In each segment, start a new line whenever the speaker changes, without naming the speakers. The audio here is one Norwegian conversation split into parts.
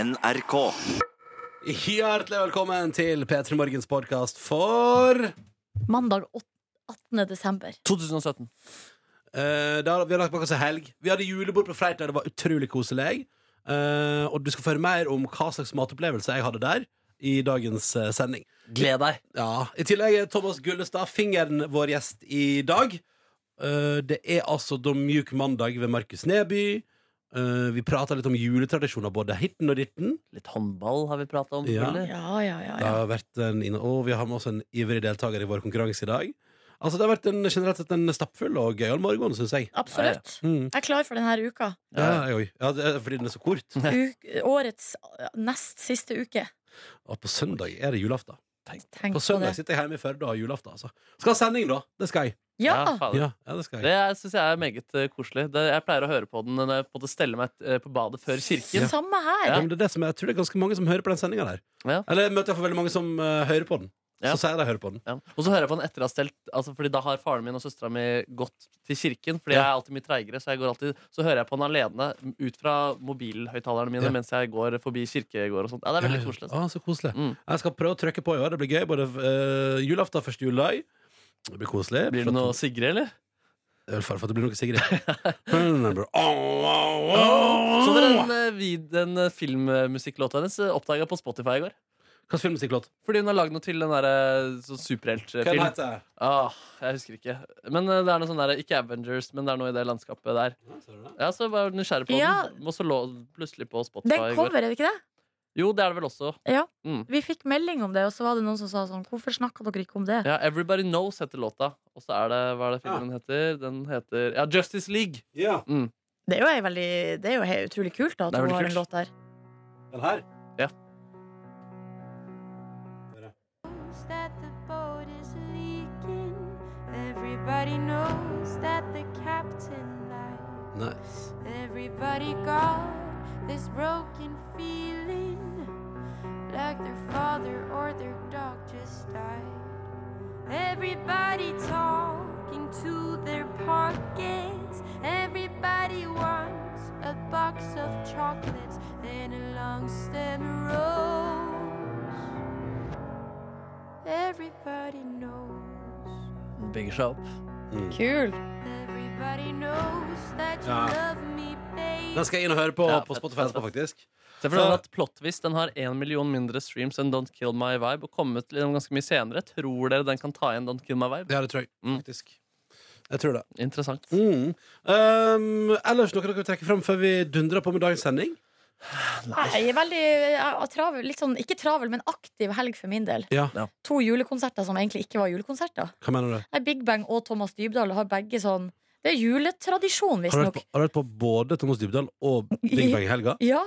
NRK.
Hjertelig velkommen til P3 Morgens podkast for
Mandag åt- 18. desember.
2017.
Eh, da, Vi har lagt bak oss en helg. Vi hadde julebord på Freitag, det var utrolig koselig. Eh, og du skal få høre mer om hva slags matopplevelse jeg hadde der. I dagens eh, sending.
Gled deg.
Ja, I tillegg er Thomas Gullestad, fingeren vår gjest i dag. Eh, det er altså Da mjuk mandag ved Markus Neby. Eh, vi prata litt om juletradisjoner, både hitten og ditten.
Litt håndball har vi prata om.
Ja.
selvfølgelig.
Ja, ja, ja.
Det har vært en, inn- og vi har med oss en ivrig deltaker i vår konkurranse i dag. Altså Det har vært en, generelt sett en stappfull og gøyal morgen, syns jeg.
Absolutt.
Mm.
Jeg er klar for denne uka.
Ja, jeg òg. Ja, det er fordi den er så kort.
Mhm.
Uk årets eh, nest siste uke.
Og på søndag er det julaften.
Tenk
På
på
søndag
det.
sitter jeg hjemme i Førde og har julaften. Altså. Skal ha sending, da. Det skal jeg.
Ja!
fader.
Ja, ja, det skal jeg.
Det syns jeg er meget eh, koselig. Det, jeg pleier å høre på den når jeg på en måte steller meg eh, på badet før kirken.
Samme
Ja,
her.
men det er det som er, jeg tror det er ganske mange som hører på den sendinga der.
Ja.
Eller jeg møter iallfall veldig mange som eh, hører på den.
Ja.
Så sier de hører på den.
Ja. Og så hører jeg på den etter å ha stelt altså, Fordi da har faren min og søstera mi gått til kirken. Fordi jeg er alltid mye treigere, så, jeg går alltid, så hører jeg på den alene ut fra mobilhøyttalerne mine
Ja.
mens jeg går forbi kirkegård og sånt. Ja, det er veldig koselig. altså.
Ja, så koselig.
Mm.
Jeg skal prøve å trykke på i år. Det blir gøy. Både eh, julaften og første juledag. Det blir koselig.
Blir det noe Sigrid, eller?
Det er vel fare for at det blir noe Sigrid. Remember. Oh, oh, oh.
Så dere en, eh, vid- en eh, filmmusikklåta hennes oppdaga på Spotify i går.
Hvilken filmmusikklåt?
Fordi hun har lagd noe til den derre så superheltfilm.
heter
Ah, jeg husker ikke. Men eh, det er noe sånn der, Ikke Avengers, men det er noe i det landskapet der.
den?
Ja, så jeg var nysgjerrig på
Ja.
den. Og så lå den plutselig på
Det
Spotify
er
i
en
går.
cover, er det ikke det?
Jo, det er det vel også.
Vi fikk melding om det, og så var det noen som sa sånn Hvorfor snakka dere ikke om det?
Ja, Everybody Knows heter låta. Og så er det Hva er det filmen heter? Den heter Ja, Justice League.
Ja,
Det er jo, ei veldig, det er jo helt utrolig kult da, at
Det
hun
er veldig
har en
kult.
låt der.
den her.
that the boat is leaking. Everybody knows that the captain lied.
Nice.
Everybody got this broken feeling like their father or their dog just died. Everybody talking to their pockets. Everybody wants a box of chocolates and a long stem rose. Everybody knows.
Big Show.
Kul.
Everybody knows that you
Ja.
love me, babe.
Den skal jeg inn og høre på
Ja,
på
fett,
Spotify
fett,
etterpå, faktisk.
Se for deg at Plottvist den har én million mindre streams enn Don't Kill My Vibe. Og kommet liksom ganske mye senere. Tror dere den kan ta igjen Don't Kill My Vibe?
Ja, det tror jeg.
Mm.
Faktisk. Jeg tror det.
Interessant.
Mm. Um, ellers noe dere vil trekke fram før vi dundrer på med dagens sending?
Jeg er veldig jeg er travel, litt sånn, ikke travel, men aktiv helg for min del.
Ja.
Ja.
To julekonserter som egentlig ikke var julekonserter.
Hva mener du?
Nei, Big Bang og Thomas Dybdahl har begge sånn Det er juletradisjon,
Har du hørt
visstnok.
på, har du hørt på både Thomas Dybdahl og Big Bang i helga?
Ja,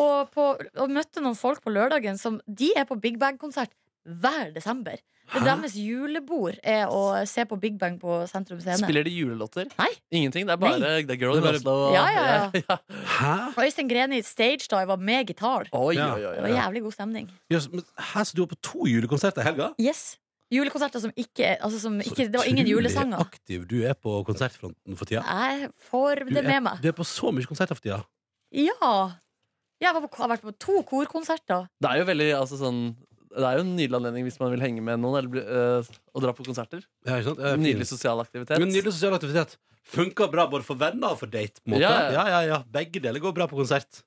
og, på, og møtte noen folk på lørdagen som De er på Big Bang-konsert hver desember. Det
Hæ?
deres julebord er å se på Big Bang på Sentrum Scene.
Spiller de julelåter?
Nei.
Ingenting? Det er bare The Girl
Det
in
er bare-
Oslo? og-
Ja, ja,
ja.
Hæ?
Og Øystein Greni stagediva med gitar.
Oi,
Ja.
oi, oi,
Det
oi.
var jævlig god stemning.
Jøss, men Hæ, så du var på to julekonserter i helga?
Yes. Julekonserter som ikke er- altså som
Så
ikke, Det var ingen
utrolig
julesanger.
aktiv du er på konsertfronten for tida.
Jeg får
Du
det
er,
med meg.
du er på så mye konserter for tida.
Ja. Jeg var på, har vært på to korkonserter.
Det er jo veldig altså, sånn det er jo en nydelig anledning hvis man vil henge med noen eller bli- eh, og dra på konserter.
Ja, ikke sant? Det er fint.
Nydelig sosial aktivitet.
Men nydelig sosial aktivitet funker bra både for venner og for date. På en måte.
Ja,
Ja,
ja.
ja, ja, Begge deler går bra på konsert.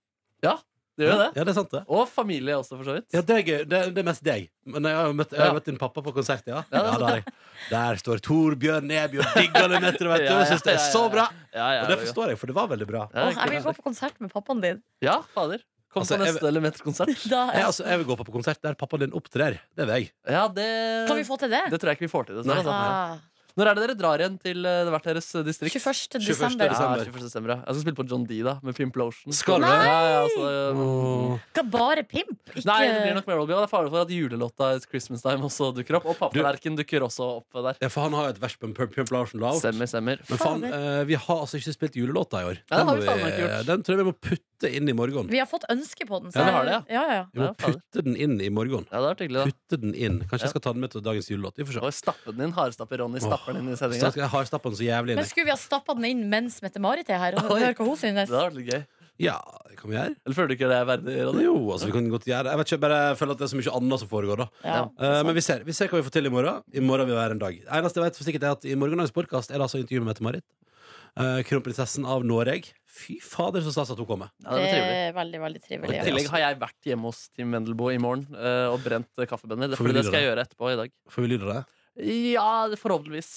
Det gjør jo det.
Ja, det er sant, det.
Og familie også, for så vidt.
Ja, det er gøy. Det, det er mest deg. Men jeg har jo møtt, jeg har
Ja.
møtt din pappa på konsert, ja.
Ja, det
ja,
er
det har jeg. Der står Torbjørn Neby og digger det meter, vet du. Og syns det er så bra.
Ja, ja,
Og det forstår jeg, for det var veldig bra.
Ja,
Åh, jeg vil gå på konsert med pappaen din.
ja fader. Kom
Altså,
på
jeg-
neste Element-konsert.
Da,
Jeg, altså, jeg vil gå på konsert der pappaen din opptrer. Det vil jeg.
Ja, det,
kan vi få til det?
det tror jeg ikke vi får til. Det,
Nei.
Ah,
Når er det dere drar igjen til eh, hvert deres eh, distrikt?
21.
21.
desember.
Ja, 21. desember. ja. Jeg skal spille på John D, da, med Pimplotion.
Skal du?
Ja, ja, altså,
Åh.
Skal bare pimp? Ikke...
Nei, det blir nok Meryl Beale. Det er fare for at julelåta It's Christmas Time også dukker opp. Og papptallerken dukker også opp der.
Ja, for han har jo et vers på en Pump Pump Larsen Loud.
Stemmer, stemmer.
Men faen, eh, vi har altså ikke spilt julelåta i år.
Ja, det har
må
vi faen meg ikke gjort.
den tror jeg vi må putte inn i morgen.
Vi har fått ønske på den.
Ja, vi har det,
ja. Ja, ja.
Vi må
Ja, faen.
putte den inn i morgen.
Ja, det var hyggelig, da.
Putte den inn. Kanskje
Ja.
jeg skal ta den med til dagens julelåt. Vi får se.
Og stappe den inn, hardstappe Ronny stapper den inn i
Så
sendinga.
jeg har stappa den så jævlig inn.
Men skulle vi ha stappa den inn mens Mette-Marit er her? Og
Oi.
hør hva hun synes
Det hadde vært litt gøy.
Ja, det kan vi gjøre.
Eller føler du ikke det er verdig? Radio?
Jo, altså, vi kan godt gjøre det. Jeg vet ikke, jeg bare føler at det er så mye annet som foregår, da.
Ja.
Eh, men vi ser, vi ser hva vi får til i morgen. I morgen vil være en dag. Eneste jeg vet for sikkert er at I morgendagens podkast er det altså intervju med Mette-Marit. Eh, kronprinsessen av Norge. Fy fader, så stas at hun kommer.
Ja,
det
det blir trivelig.
er veldig, veldig
I
trivelig.
Ja,
tillegg
altså.
har jeg vært hjemme hos Tim Wendelboe i morgen eh, og brent eh, kaffebønner. Det,
Får vi
fordi det
lyder
skal jeg gjøre etterpå i dag.
Får vi lyd av det?
Ja, det- forhåpentligvis.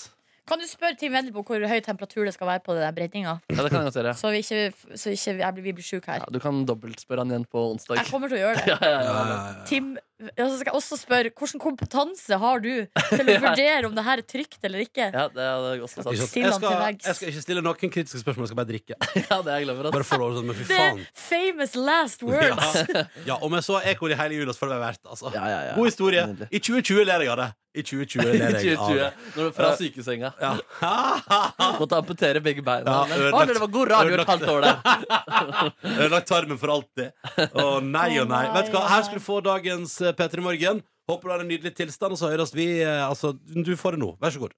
Kan du spørre Tim Wendelbo hvor høy temperatur det skal være på den der brenninga?
Ja, det kan jeg godt gjøre.
Så vi ikke, så ikke jeg blir, vi blir sjuke her.
Ja, du kan dobbeltspørre han igjen på onsdag.
Jeg kommer til å gjøre det.
Ja, ja, ja.
Ja,
Tim, og så skal jeg også spørre Hvilken kompetanse har du til å vurdere om det her er trygt eller ikke?
ja, det er også
ikke
sant.
sant?
Still
Jeg
han til
skal,
veggs.
jeg skal ikke stille noen kritiske spørsmål, jeg skal bare drikke.
Ja, det er jeg glad for. ass.
Bare få lov til det, men fy
Det er
faen.
famous last words!
Ja. ja, om jeg så ekol i hele jula, så får det være verdt, altså.
Ja, ja, ja.
God historie.
Nydelig.
I 2020 ler jeg av det. I 2020
I
ler jeg av
2020.
det.
Når du er fra sykesenga.
Ja. Jeg
Måtte amputere begge beina.
Ja,
Men
ødelagt.
faen, det var god radio et
Ødelagt.
halvt år der.
har lagt tarmen for alltid. Å nei og nei.
Å, nei,
Vet du hva,
å,
Her
nei.
skal du få dagens eh, P3 Morgen. Håper du har en nydelig tilstand, og så høres vi eh, Altså, du får det nå. Vær så god.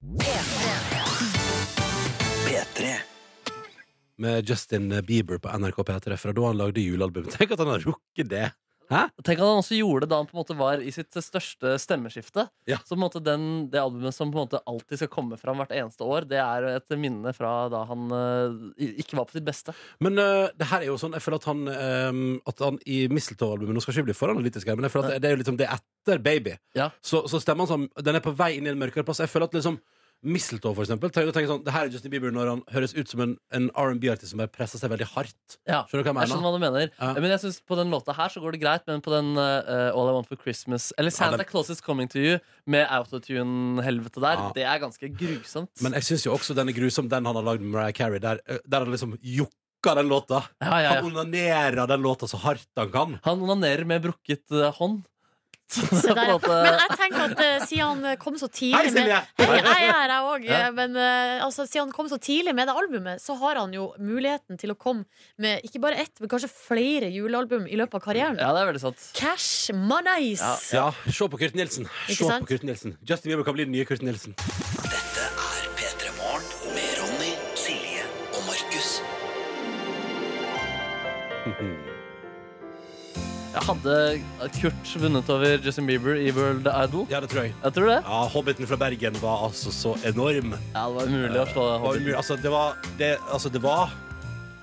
Med Justin Bieber på NRK P3 fra da han lagde julealbum. Tenk at han har rukket det!
Tenk at han også gjorde det da han på en måte var i sitt største stemmeskifte.
Ja.
Så på en måte den, det albumet som på en måte alltid skal komme fram hvert eneste år, det er et minne fra da han eh, i- ikke var på sitt beste.
Men eh, det her er jo sånn, jeg føler at han, eh, at han i Mistletoe-albumet Nå skal jeg ikke bli for analytisk her, men jeg føler at det er jo liksom det er etter Baby.
Ja.
Så, så stemmer han sånn, den er på vei inn i en mørkere plass. Jeg føler at liksom Mistletoe, for eksempel, trenger å tenke sånn Det her er Justin Bieber når han høres ut som en, en R&B-artist som bare presser seg veldig hardt. Skjønner du hva
Jeg
jeg
skjønner
mener?
hva du mener.
Ja.
Men jeg synes på den låta her så går det greit, men på den eh, All I Want for Christmas Eller Santa
den-
Claus Is Coming to You med autotune-helvete der,
Ja.
det er ganske grusomt.
Men jeg syns jo også den er grusom, den han har lagd med Mariah Carey, der, eh, der han liksom jukka den låta.
ja, ja,
Han
ja.
onanerer den låta så hardt han kan.
Han onanerer med brukket eh, hånd. Så det
Se
er på
der,
en
ja.
måte-
Men jeg tenker at eh, siden han kom så tidlig
Hei,
med
Silje!
Hei, jeg er her, jeg òg.
Ja.
Men eh, altså, siden han kom så tidlig med det albumet, så har han jo muligheten til å komme med ikke bare ett, men kanskje flere julealbum i løpet av karrieren.
Ja, det er veldig sant.
Cash monies!
Ja.
Ja, se på Kurt Nilsen.
Ikke
Se på
sant?
Kurt Nilsen. Justin Bieber kan bli den nye Kurt Nilsen.
er P3 Morgen med Ronny, Silje og Markus.
Jeg hadde Kurt vunnet over Justin Bieber i World Idol.
Ja, det tror jeg.
Jeg tror det.
Ja, Hobbiten fra Bergen var altså så enorm.
Ja, det var umulig å slå
Det var,
Hobbit.
umulig. altså, det var, det, altså, det var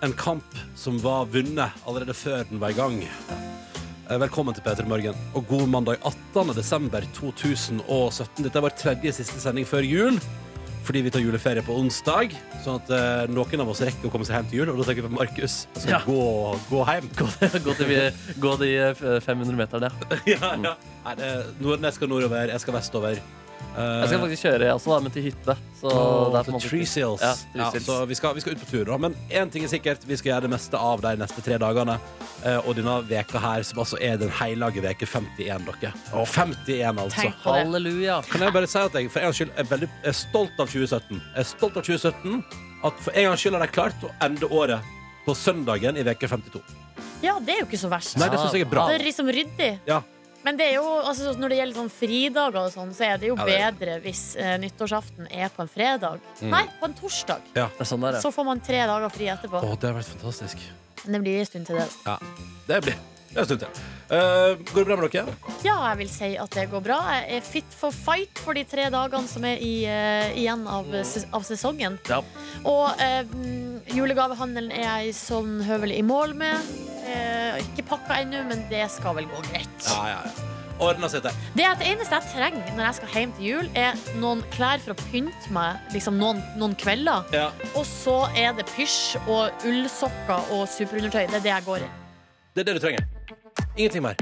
en kamp som var vunnet allerede før den var i gang. Eh, Velkommen til P3 Morgen og god mandag 18. desember 2017. Dette er vår tredje siste sending før jul. Fordi vi tar juleferie på onsdag, sånn at eh, noen av oss rekker å komme seg hjem til jul. Og da tenker vi på Markus. Så
Ja.
gå, gå hjem.
Gå, til, gå de eh, 500 meterne. ja.
ja, ja. Nei, det, Nordnes skal nordover, jeg skal vestover.
Jeg skal faktisk kjøre, jeg også, da, men til hytte. Så det er på en måte
Tree Seals.
Ja,
Ja,
Tree Seals.
så vi skal, vi skal ut på tur, da. Men én ting er sikkert, vi skal gjøre det meste av de neste tre dagene. Eh, og denne veka her, som altså er den hellige veke 51, dere. Og 51, altså.
Tenk på det.
Halleluja.
Kan jeg bare si at jeg for en gangs skyld er veldig er stolt av 2017. Jeg er stolt av 2017 At for en gangs skyld har de klart å ende året på søndagen i veke 52.
Ja, det er jo ikke så verst.
Nei, det syns jeg er bra.
Det er liksom ryddig.
Ja.
Men det er jo, altså, når det gjelder sånn fridager og sånn, så er det jo
Ja, det er- Mm.
bedre hvis eh, nyttårsaften er på en fredag. Nei, på en torsdag.
Det er sånn der, ja.
Så får man tre dager fri etterpå.
Å, det har vært fantastisk.
Men det blir en stund til det.
Ja. Det blir det er en stund til. Eh, går det bra med dere?
Ja, jeg vil si at det går bra. Jeg er fit for fight for de tre dagene som er i, eh, igjen av, ses av sesongen.
Ja.
Og eh, mm, julegavehandelen er jeg sånn høvelig i mål med. Eh, ikke pakka ennå, men det skal vel gå greit.
Ja, ja, ja. Ordna seg til.
Det er det eneste jeg trenger når jeg skal hjem til jul, er noen klær for å pynte meg liksom noen, noen kvelder.
Ja.
Og så er det pysj og ullsokker og superundertøy. Det er det jeg går i.
Det er det du trenger. Ingenting mer.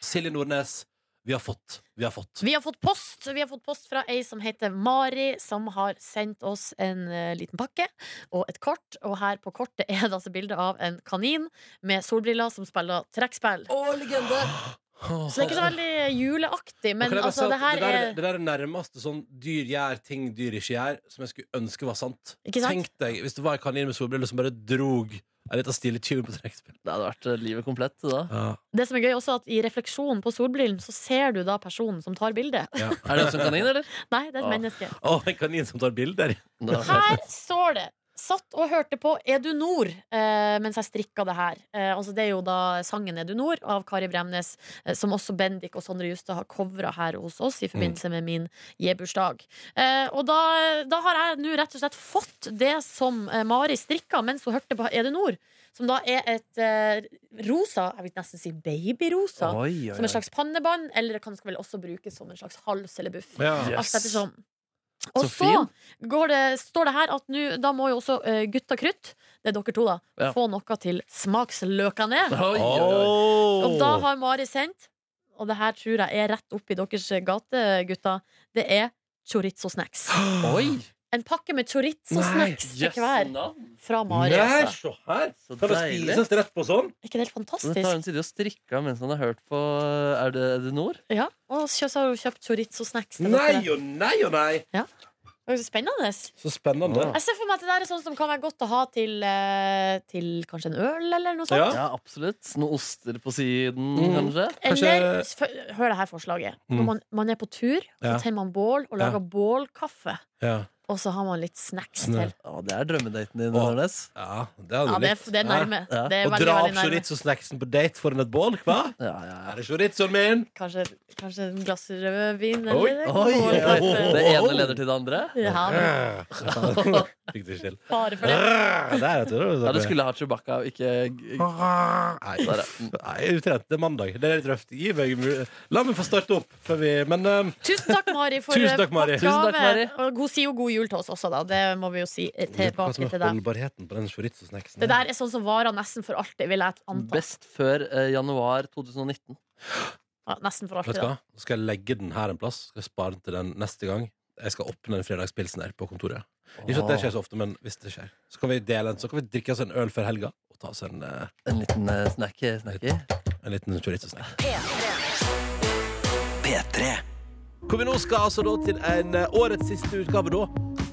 Silje Nordnes, vi har fått. Vi har fått.
Vi har fått post Vi har fått post fra ei som heter Mari, som har sendt oss en eh, liten pakke og et kort. Og her på kortet er det altså bilde av en kanin med solbriller som spiller trekkspill.
Å, legende!
Så det er ikke så veldig juleaktig, men
Kan jeg bare si
altså,
at
det her
det, der,
er
det der er nærmeste sånn dyr gjør ting dyr ikke gjør, som jeg skulle ønske var sant.
Ikke sant?
Tenk deg hvis det var en kanin med solbriller som bare drog en liten stilig tjuv på trekkspill.
Det hadde vært eh, livet komplett da.
Det som er gøy også, at i refleksjonen på solbrillen så ser du da personen som tar bildet.
Ja.
Er det også en kanin, eller?
Nei, det er et
Ah.
menneske.
Å, en kanin som tar bilder!
Nei.
Her står det Satt og hørte på Er du nord eh, mens jeg strikka det her. Eh, altså det er jo da sangen Er du nord av Kari Bremnes, eh, som også Bendik og Sondre Justad har covra her hos oss i
Mm.
forbindelse med min J-bursdag. Eh, og da, da har jeg nå rett og slett fått det som eh, Mari strikka mens hun hørte på Er du nord, som da er et eh, rosa, jeg vil nesten si babyrosa,
Oi, oi,
som
oi.
et slags pannebånd, eller det kan skal vel også brukes som en slags hals eller buff.
Ja.
Alt
sånn.
ettersom.
Så
Og så, går det, står det her at nå da må jo også eh, gutta krutt, det er dere to, da,
Ja.
få noe til smaksløkene.
Oi, oi, oi.
Oh.
Og da har Mari sendt, og det her tror jeg er rett oppi deres gate, gutta, det er chorizo-snacks.
oi.
En pakke med chorizo-snacks til
Jøsse
hver
navn.
fra Mari.
Nei,
Altså.
se her!
Så
Kan det
deilig.
spises rett på sånn?
Er ikke det helt
Men Dette har
fantastisk?
hun sittet og strikka mens han har hørt på eh, Er det, er det Nord?
Ja. Og så har hun kjøpt chorizo-snacks til
Nei
dere.
og nei og nei!
Det er jo Spennende.
Så spennende.
Jeg ser for meg at det der er sånn som kan være godt å ha til, eh, til kanskje en øl eller noe sånt.
Ja.
Ja, absolutt. Noen oster på siden,
Mm.
kanskje?
Kanskje-
Eller, f- hør det her forslaget. Når
Mm.
man, man er på tur, så
Ja.
tenner man bål og lager bålkaffe.
Ja.
Og så har man litt snacks
Snø.
til.
Å, det er drømmedaten din,
Å.
Nordnes.
Ja, det hadde
Ja,
du
det, er,
likt.
det er nærme.
Ja.
Det er
Og
Eh, veldig,
dra
veldig
opp
nærme.
chorizo-snacksen på date foran et bål, hva?
Ja, ja, ja.
Er det chorizoen min?
Kanskje, kanskje en glass rødvin
Oi,
eller
Oi, oi, oi.
bålkaffe.
Det ene leder til det andre?
Ja, men
Fikk det ikke til.
bare for det.
Der, vet du.
Ja, du skulle ha Chewbacca og ikke g- g-
Nei,
Der,
uff. Nei, jeg er utrent. Det er mandag. Det er litt røft. Gi meg mul- La meg få starte opp før vi Men eh,
Tusen takk, Mari, for
Tusen takk,
eh,
Mari.
pakkegave.
Tusen takk, Mari.
Og hun sier jo god jul til oss også, da. Det må vi jo si eh,
hva
tilbake
som er
til deg.
holdbarheten på den chorizo-snacksen?
Det der er sånn som varer nesten for alltid, vil jeg anta.
Best før eh, januar 2019.
Ja, nesten for
Vet
alltid,
du
da.
hva? Nå skal jeg legge den her en plass. Skal jeg spare den til den neste gang. Jeg skal åpne den fredagspilsen her på kontoret. Ikke at det skjer så ofte, men hvis det skjer, så kan vi dele en Så kan vi drikke oss en øl før helga og ta oss en, eh,
En liten eh, snacky, snacky.
en liten chorizo-snack.
P3
Hvor vi nå skal altså da til en eh, årets siste utgave da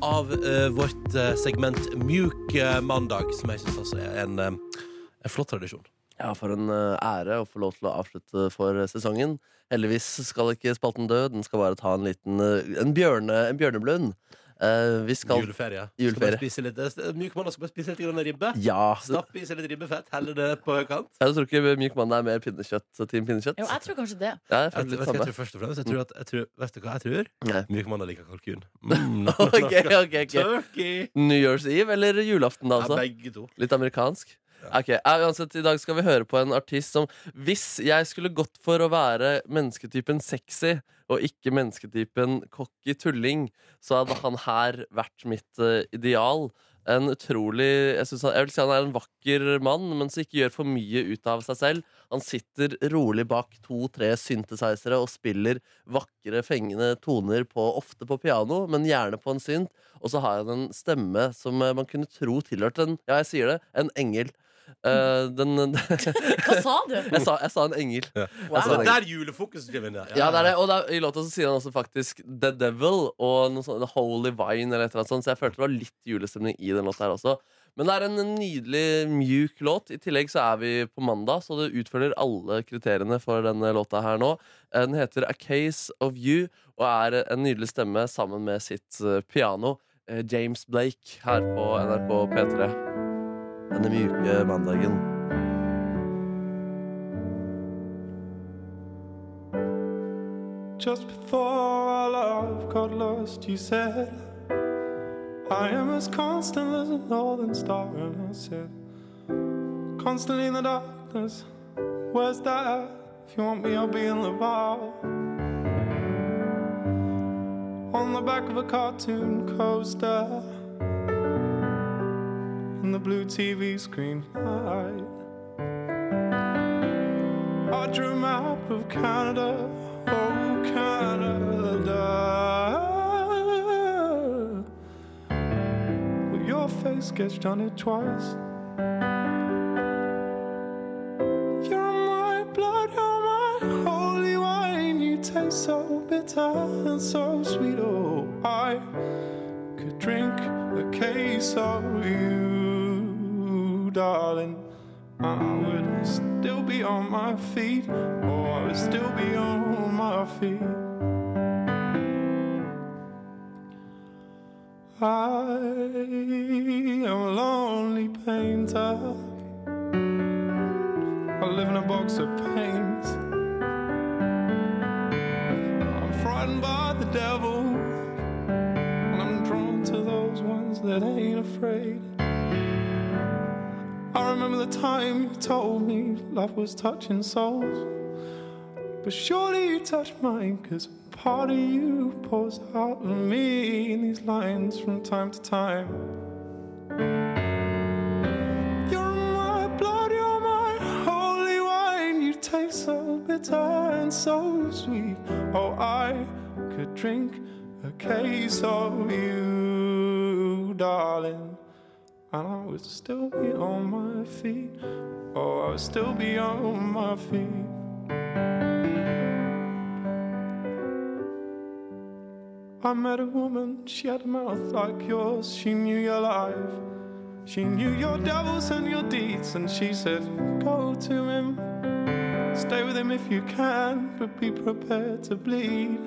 av eh, vårt eh, segment Mjuk eh, mandag, som jeg syns altså er en, eh, en flott tradisjon.
Ja, for en eh, ære å få lov til å avslutte for eh, sesongen. Heldigvis skal ikke spalten dø, den skal bare ta en liten eh, En, bjørne, en bjørneblund. Eh, vi skal
Juleferie.
Juleferie.
Skal bare spise litt, eh, mjuk mandag skal bare spise litt grann ribbe.
Ja.
Stapp i seg litt ribbefett, helle det på høykant.
Jeg tror ikke Myk mann er mer pinnekjøtt, eh, Team Pinnekjøtt.
Jo, jeg tror kanskje det.
Ja, jeg
Jeg,
føler
vet
litt
du hva jeg
samme.
tror først og fremst? Jeg tror at, jeg tror, vet du hva jeg tror?
Nei.
Mjuk mandag liker kalkun. Mm,
Ok, ok, ok.
Turkey!
New Year's Eve eller julaften, da,
Ja,
altså?
begge to.
Litt amerikansk? Ok, ja, uansett, I dag skal vi høre på en artist som Hvis jeg skulle gått for å være mennesketypen sexy og ikke mennesketypen cocky tulling, så hadde han her vært mitt eh, ideal. En utrolig jeg, synes han, jeg vil si han er en vakker mann, men som ikke gjør for mye ut av seg selv. Han sitter rolig bak to-tre synthesizere og spiller vakre, fengende toner, på, ofte på piano, men gjerne på en synt. Og så har han en stemme som eh, man kunne tro tilhørte en Ja, jeg sier det. En engel. Eh, den, jeg,
Hva sa du?
sa, jeg sa en engel.
Ja.
Jeg sa
Altså,
en engel.
det er der julefokuset kommer inn. ja.
Ja, det er det. Og da, i låta så sier han også faktisk The Devil og noe sånt, The Holy Vine eller et eller annet sånt, så jeg følte det var litt julestemning i den låta her også. Men det er en nydelig, mjuk låt. I tillegg så er vi på mandag, så det utfølger alle kriteriene for denne låta her nå. Eh, Den heter A Case of You og er en nydelig stemme sammen med sitt eh, piano. eh, James Blake her på NRK P3. Denne mjuke mandagen.
Just before our love got lost, you said, I am as constant as a northern star. And I said, Constantly in the darkness, where's that? If you want me, I'll be in Laval. On the back of a cartoon coaster, in the blue TV screen light. I drew a map of Canada, oh Canada. With your face sketched on it twice. You're my blood, you're my holy wine. You taste so bitter and so sweet. Oh, I could drink a case of you, darling. I would still be on my feet, or I would still be on my feet. I am a lonely painter. I live in a box of paint. I'm frightened by the devil. And I'm drawn to those ones that ain't afraid. I remember the time you told me love was touching souls. But surely you touch mine, cause part of you pours out of me in these lines from time to time. You're my blood, you're my holy wine. You taste so bitter and so sweet. Oh, I could drink a case of you, darling. And I would still be on my feet. Oh, I would still be on my feet. I met a woman, she had a mouth like yours. She knew your life, she knew your devils and your deeds. And she said, Go to him, stay with him if you can, but be prepared to bleed.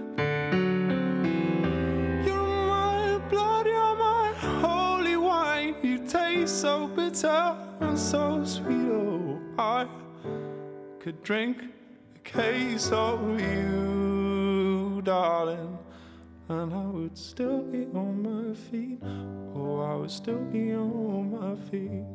You're my blood, you're my holy wine. You taste so bitter and so sweet. Oh, I could drink a case of you, darling and I would still be on my feet. Oh, I would still be on my feet.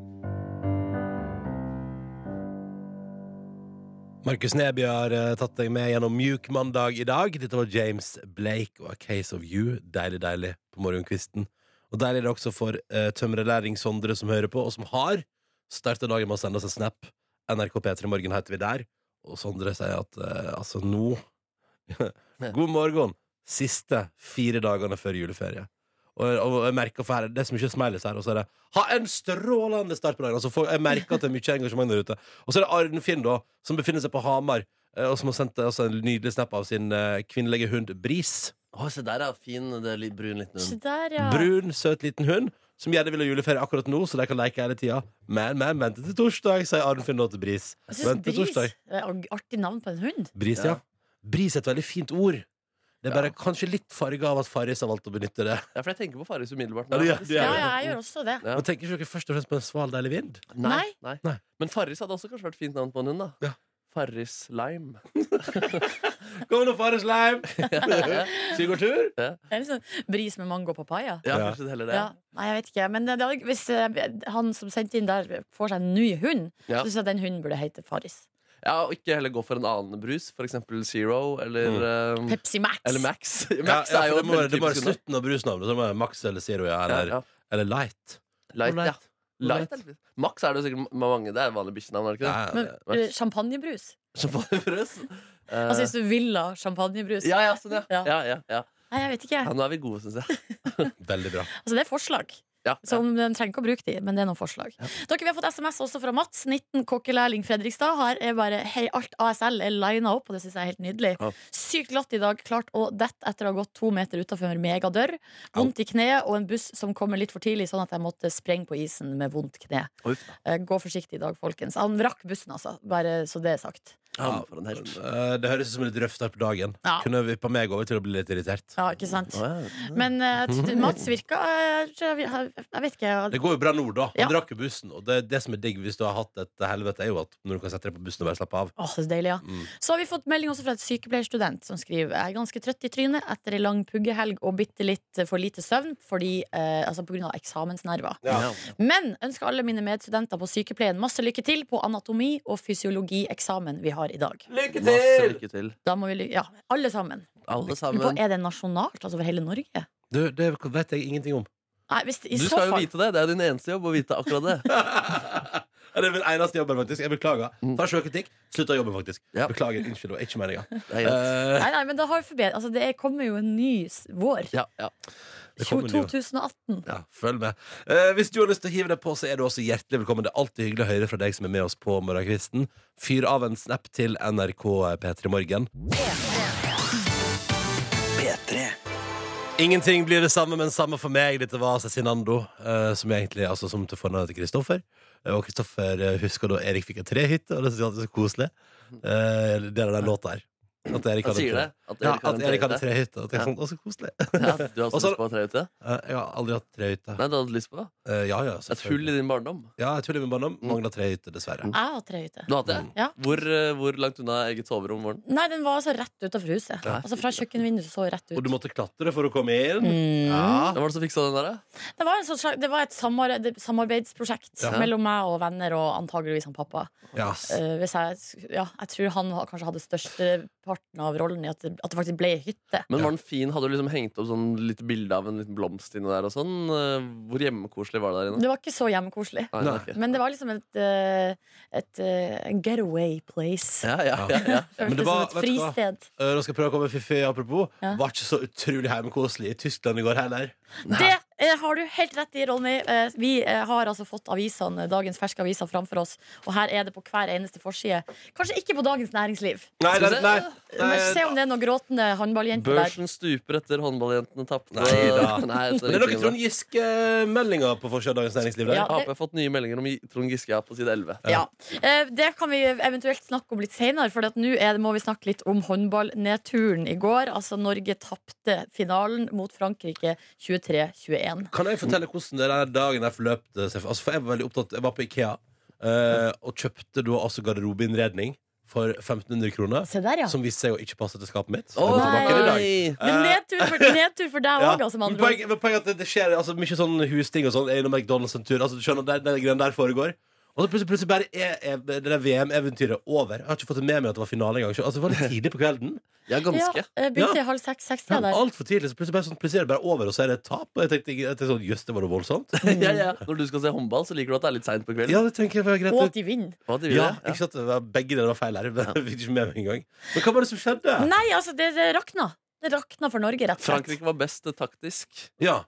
Markus Neby har eh, tatt deg med gjennom Mjuk mandag i dag. Dette var James Blake og A Case of You. Deilig, deilig på morgenkvisten. Og deilig er det også for uh, tømrerlæring Sondre som hører på, og som har starta dagen med å sende oss en snap. NRK P3 Morgen heter vi der. Og Sondre sier at eh, altså nå God morgen! Siste fire dagene før juleferie. Og, og jeg merker for her, Det er så mye smileys her, og så er det 'ha en strålende start på dagen'. Altså, folk- jeg merker at det er mye engasjement der ute. Og så er det Arnfinn, da, som befinner seg på Hamar, eh, og som har sendt oss en nydelig snap av sin eh, kvinnelige hund Bris.
Å, se der, ja. Fin, det er litt brun liten
Se
hund.
der, ja.
Brun, søt liten hund som gjerne vil ha juleferie akkurat nå, så de kan leke hele tida. Men, men, vente til torsdag, sier Arnfinn nå til Bris.
Jeg
Vent
synes
til
Bris
torsdag.
det er et Artig navn på en hund.
Bris, ja.
Ja.
Bris er et veldig fint ord. Det er bare kanskje litt farga av at Farris har valgt å benytte det.
Ja, for jeg tenker på Farris umiddelbart. nå.
Ja, du gjør- du
Ja,
gjør
ja, jeg gjør også det.
Ja.
Og tenker ikke dere først og fremst på en sval, deilig vind?
Nei, nei.
Nei.
Men Farris hadde også kanskje vært fint navn på en hund. da
Ja.
Farris Lime.
Kom nå, Farris Lime! Skal vi gå tur?
det er liksom Bris med mango og papaya.
Ja,
Ja.
kanskje det heller det.
Ja. Nei, jeg vet ikke. Men det, det, hvis eh, han som sendte inn der, får seg en ny hund,
Ja.
så syns jeg den hunden burde hete Farris.
Ja, Og ikke heller gå for en annen brus, f.eks. Zero eller eh,
Pepsi Max.
Eller Max.
Mm. Ja,
Max er
ja, for
jo
det må være-
en
det må være
typisk hund, da.
slutten av brusnavnet. Så det må være Max eller Zero, ja. Eller,
Ja, ja.
eller Light.
Light, ja.
Light.
Light. er det. Max er det jo sikkert ma- mange. Det er vanlig bikkjenavn, er det ikke det?
Ja, ja.
Men
Max.
eh, champagnebrus.
Champagnebrus. Eh,
Altså hvis du vil ha champagnebrus.
ja, ja, sånn, ja.
Ja.
Ja, ja, ja.
Nei, jeg vet ikke.
ja. Nå er vi gode, syns jeg.
Veldig bra.
Altså, det er forslag.
Ja, ja.
Som Den trenger ikke å bruke de, men det er noen forslag. Dere, Vi har fått SMS også fra Mats, 19 kokkelærling Fredrikstad. Her er bare hei, alt ASL er lina opp, og det syns jeg er helt nydelig.
Ja.
Sykt glatt i dag, klart å dette etter å ha gått to meter utafor megadør. Vondt i kneet og en buss som kommer litt for tidlig, sånn at jeg måtte sprenge på isen med vondt kne.
Uff, da.
Eh, Gå forsiktig i dag, folkens. Han rakk bussen, altså. Bare så det er sagt.
Ja, men for en helt.
Eh, Det høres ut som en litt røff start på dagen.
Ja.
Kunne vippa meg over til å bli litt irritert.
Ja, ikke sant?
Å, ja.
Men eh, t- Mats virka eh, Jeg jeg vet ikke.
Det går jo bra nå, da. Han
Ja.
drakk jo bussen. Og det, det som er digg hvis du har hatt et helvete, er jo at når du kan sette deg på bussen og bare slappe av.
Åh, så deilig, ja.
Mm.
Så har vi fått melding også fra et sykepleierstudent som skriver Jeg er ganske trøtt i trynet etter ei lang puggehelg og bitte litt eh, for lite søvn fordi, eh, altså på grunn av eksamensnerver.
Ja.
Men ønsker alle mine medstudenter på sykepleien masse lykke til på anatomi- og fysiologieksamen vi har i dag.
Masse lykke til.
Da må vi, ly- ja, alle sammen.
Alle
Lurer på,
sammen.
er det nasjonalt, altså over hele Norge?
Du, det vet jeg ingenting om.
Nei, hvis, i
Du
så
skal jo
fall
vite det. Det er jo din eneste jobb å vite akkurat det.
Ja, Det er min eneste jobb, faktisk. Jeg beklager.
Mm.
Tar sjøkritikk. Slutta jobben, faktisk.
Ja.
Beklager. Unnskyld, det var ikke Eh, meninga.
Det er greit.
Nei, nei, men da har vi forbedret Altså, det kommer jo en ny s- vår.
Ja, ja.
Det kommer en ny vår.
2018.
Ja, følg med. Eh, hvis du har lyst til å hive deg på, så er du også hjertelig velkommen. Det er alltid hyggelig å høre fra deg som er med oss på morgenkvisten. Fyr av en snap til NRK P3 Morgen.
P3
Ingenting blir det samme, men samme for meg. Dette var Cezinando, eh, som egentlig altså som til fornavnet til Kristoffer. Eh, Og Kristoffer eh, husker da Erik fikk en trehytte, og det synes jeg alltid er så koselig. Eh, det er den låta her. At Erik
Han
hadde
sier det. At
Ja,
Erik
at
har en
Erik hadde
trehytte.
trehytte. Og tenkte
Ja.
sånn, å, så koselig.
Ja, du har også
Også-
lyst på å ha trehytte?
Eh, Jeg har aldri hatt trehytte.
Nei, du hadde lyst på det?
Eh, Ja, ja,
Et hull i Mm. din barndom?
Ja, jeg tuller med barndom. Mangla trehytte, dessverre.
Jeg har trehytte.
Du hadde det?
Ja.
Hvor, eh, hvor langt unna eget soverom var den?
Nei, den var altså rett utafor huset.
Ja.
Altså Fra kjøkkenvinduet så jeg rett ut.
Og du måtte klatre for å komme inn?
Mm.
Ja.
Hvem var det som fiksa den der? da?
Det var, en sånn slags, det var et samar- det- samarbeidsprosjekt
Ja.
mellom meg og venner og antageligvis han pappa.
Ja, ass.
Eh, hvis jeg, ja, jeg tror han ha- kanskje hadde størsteparten av rollen i at det, at det faktisk ble hytte.
Men var den fin? Hadde du liksom hengt opp sånn litt bilde av en liten blomst inni der og sånn? Eh, Hvor hjemmekoselig var det der inne?
Det var ikke så hjemmekoselig.
Nei,
Nei.
ok.
Men det var liksom et, eh, et eh, en getaway place.
Ja, ja, ja, ja.
Men
Føltes
det var-
som et
vet du hva?
fristed.
Eh, Nå skal jeg prøve å komme fiffig, apropos.
Ja.
Var ikke så utrolig heimekoselig i Tyskland i går heller.
Det eh, har du helt rett i, Ronny. Eh, vi eh, har altså fått avisene, dagens ferske aviser framfor oss, og her er det på hver eneste forside. Kanskje ikke på Dagens Næringsliv.
Nei,
Skal vi
nei,
se?
nei,
Men se om
nei.
det er noen gråtende håndballjenter der.
Børsen stuper etter håndballjentene tapte.
Nei da.
Nei, så
Men er det noen
ingenting om
Trond Giske-meldinger på forsida av Dagens Næringsliv? der?
Ja.
Ap har fått nye meldinger om Gi- Trond Giske ja, på side 11.
Ja. Eh, Det kan vi eventuelt snakke om litt senere, for nå er det- må vi snakke litt om håndballnedturen i går. Altså, Norge tapte finalen mot Frankrike 23-21.
Kan jeg fortelle hvordan den der dagen der forløp det seg? Altså, for jeg var veldig opptatt Jeg var på Ikea eh, og kjøpte da altså garderobeinnredning for 1500 kroner.
Se der, ja.
Som viste seg å ikke passe til skapet mitt.
Å,
Den er tilbake i dag.
nei!
Men nedtur for, nedtur for deg
Ja,
òg, altså, med
men
andre ord.
poenget- men poenget er at det, det skjer altså, mye sånn husting og sånn. Jeg er innom McDonald's en tur. Altså, du skjønner, det, det greiene der foregår. Og så plutselig, plutselig bare er, er det der VM-eventyret over. Jeg har ikke fått det med meg at det var finale engang. Altså, det var litt tidlig på kvelden.
Ja,
Ja,
ganske.
eh, begynte
Ja.
i halv seks-sekstida
Ja,
der.
Altfor tidlig. Så plutselig, bare, sånn, plutselig er det bare over, og så er det et tap. Og jeg tenkte, jeg tenkte sånn, jøss, det var jo voldsomt.
Ja, ja.
Mm.
Når du skal se håndball, så liker du at det er litt seint på kvelden.
Ja, det tenker jeg var greit.
Og at de vinner.
Hva de vil,
Ja,
ja.
ikke sant? Det var, begge deler var feil her. Men jeg fikk ikke med meg engang. Men hva var det som skjedde?
Nei, altså, det, det rakna. Det rakna for Norge, rett og slett.
Frankrike var best eh, taktisk.
Ja,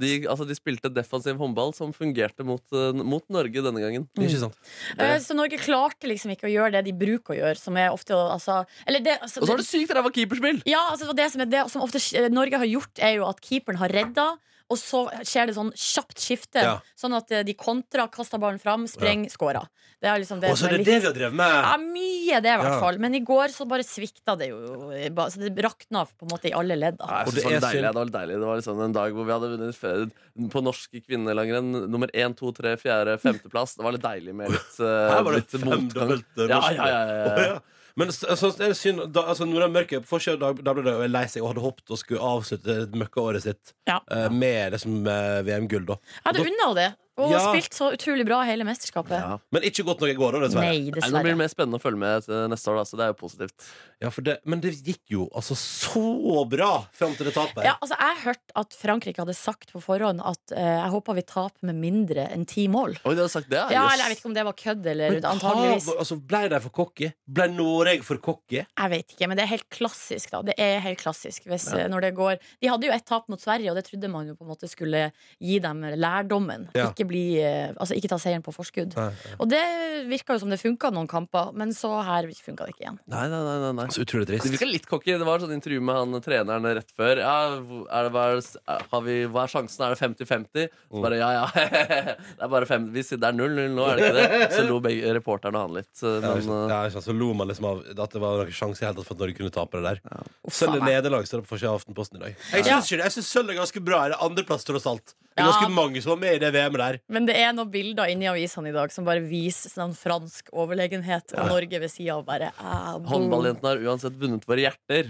De, altså, de spilte defensiv håndball som fungerte mot, eh, mot Norge denne gangen.
ikke sant?
Eh, Så Norge klarte liksom ikke å gjøre det de bruker å gjøre, som er ofte å altså, Eller det altså,
Og så var det sykt ræva keeperspill!
Ja, altså det, var det, som er det som ofte sk- Norge har gjort, er jo at keeperen har redda. Og så skjer det sånn kjapt skifte,
Ja.
sånn at eh, de kontra, kaster ballen fram, sprenger, scorer. Det er liksom det
Og så
som
er
er
det
litt
det vi har drevet med!
ja, mye det, i hvert
Ja.
fall. Men i går så bare svikta det jo. eh, ba- Så det rakna på en måte i alle ledd. da.
Nei,
Og
jeg synes
det
det, var
er
deilig,
synd.
det var deilig. Det var liksom en dag hvor vi hadde vunnet flere- på norske kvinnelangrenn nummer 1, 2, 3, 4, 5. plass. Det var litt deilig med litt, eh,
Her var det
litt motgang.
femdobbelt eh,
Ja,
norsk.
ja, ja, ja,
Å,
ja.
ja. Men så, så er det synd da, altså, Nora Mørke på forsiden av Dagbladet og er lei seg og hadde håpet og skulle avslutte møkkaåret sitt
Ja.
eh, med liksom, eh, VM-gull, da.
Jeg hadde unna henne det. Og
Ja.
spilt så utrolig bra hele mesterskapet.
Ja.
Men ikke godt nok i går, da, dessverre.
Nei,
Nei, Nå blir
dessverre.
det mer spennende å følge med til neste år, da, så det er jo positivt.
Ja, for det, men det gikk jo altså så bra fram til det tapet.
Ja, altså Jeg hørte at Frankrike hadde sagt på forhånd at eh, jeg håper vi taper med mindre enn ti mål.
Oi, du hadde sagt det?
Ja,
jøss.
eller Jeg vet ikke om det var kødd, eller
Men hva-
antageligvis.
Altså, ble de for cocky? Ble Noreg for cocky?
Jeg vet ikke, men det er helt klassisk, da. Det er helt klassisk hvis, eh, når det går De hadde jo ett tap mot Sverige, og det trodde man jo på en måte skulle gi dem lærdommen.
Ja.
Ikke, bli, eh, altså, ikke ta seieren på forskudd.
Nei,
Og det virka jo som det funka noen kamper, men så her funka det ikke igjen.
Nei, nei, nei, nei, nei.
Så utrolig trist.
Det virka litt cocky. Det var sånn intervju med han treneren rett før. Ja, hvor- er det, hva, er, har vi, hva er sjansen? Er det 50-50?
Mm.
Så bare ja, ja. Det er bare fem, vi sier, det er 0-0 nå, er det ikke det? Så lo begge reporterne og han litt. Men,
Ja, ikke sant.
eh,
ja, ikke sant. så lo man liksom av at det var noen sjanse i hele tatt for at Norge kunne tape det der.
Uff,
Sølv i
faen meg.
nederlag står det på forsida av Aftenposten i dag. Jeg
Ja.
syns ikke det. Jeg syns sølv er ganske bra. Det er andreplass, tross alt. Det er
Ja.
ganske mange som var med i det VM-et der.
Men det er noen bilder inni avisene i dag som bare viser sånn fransk overlegenhet, og Norge ved sida av bare ah, boom.
eh, Håndballjentene har uansett vunnet våre hjerter.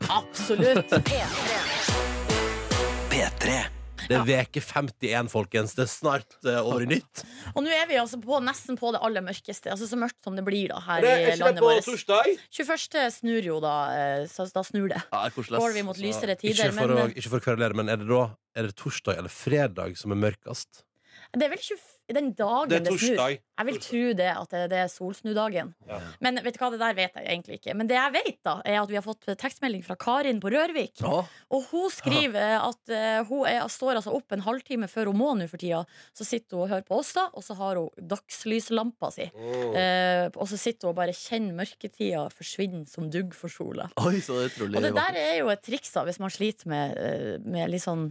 Absolutt.
P3.
Det er veke 51, folkens. Det er snart eh, over i nytt.
Og nå er vi altså på, nesten på det aller mørkeste. Altså Så mørkt som det blir da her
Det
i
er ikke det
landet
på
vårt.
torsdag?
21. snur jo da, eh, så da snur det.
Ja, det er koselig. ass.
Går vi mot lysere
altså. Ikke
tider,
for, å,
men eh,
ikke for å kverulere, men er det da er det torsdag eller fredag som er mørkest?
det er vel 20, den dagen
Det
det,
er
snur.
torsdag.
Jeg vil tro det at det, det er solsnudagen.
Ja.
Men vet du hva, det der vet jeg egentlig ikke. Men det jeg vet, da, er at vi har fått tekstmelding fra Karin på Rørvik.
Å,
Og hun skriver at eh, hun er, står altså opp en halvtime før hun må nå for tida. Så sitter hun og hører på oss, da, og så har hun dagslyslampa si. Eh, og så sitter hun og bare kjenner mørketida forsvinne som dugg for sola.
Oi, så det er utrolig
Og det
vakkert.
der er jo et triks da hvis man sliter med, eh, med litt sånn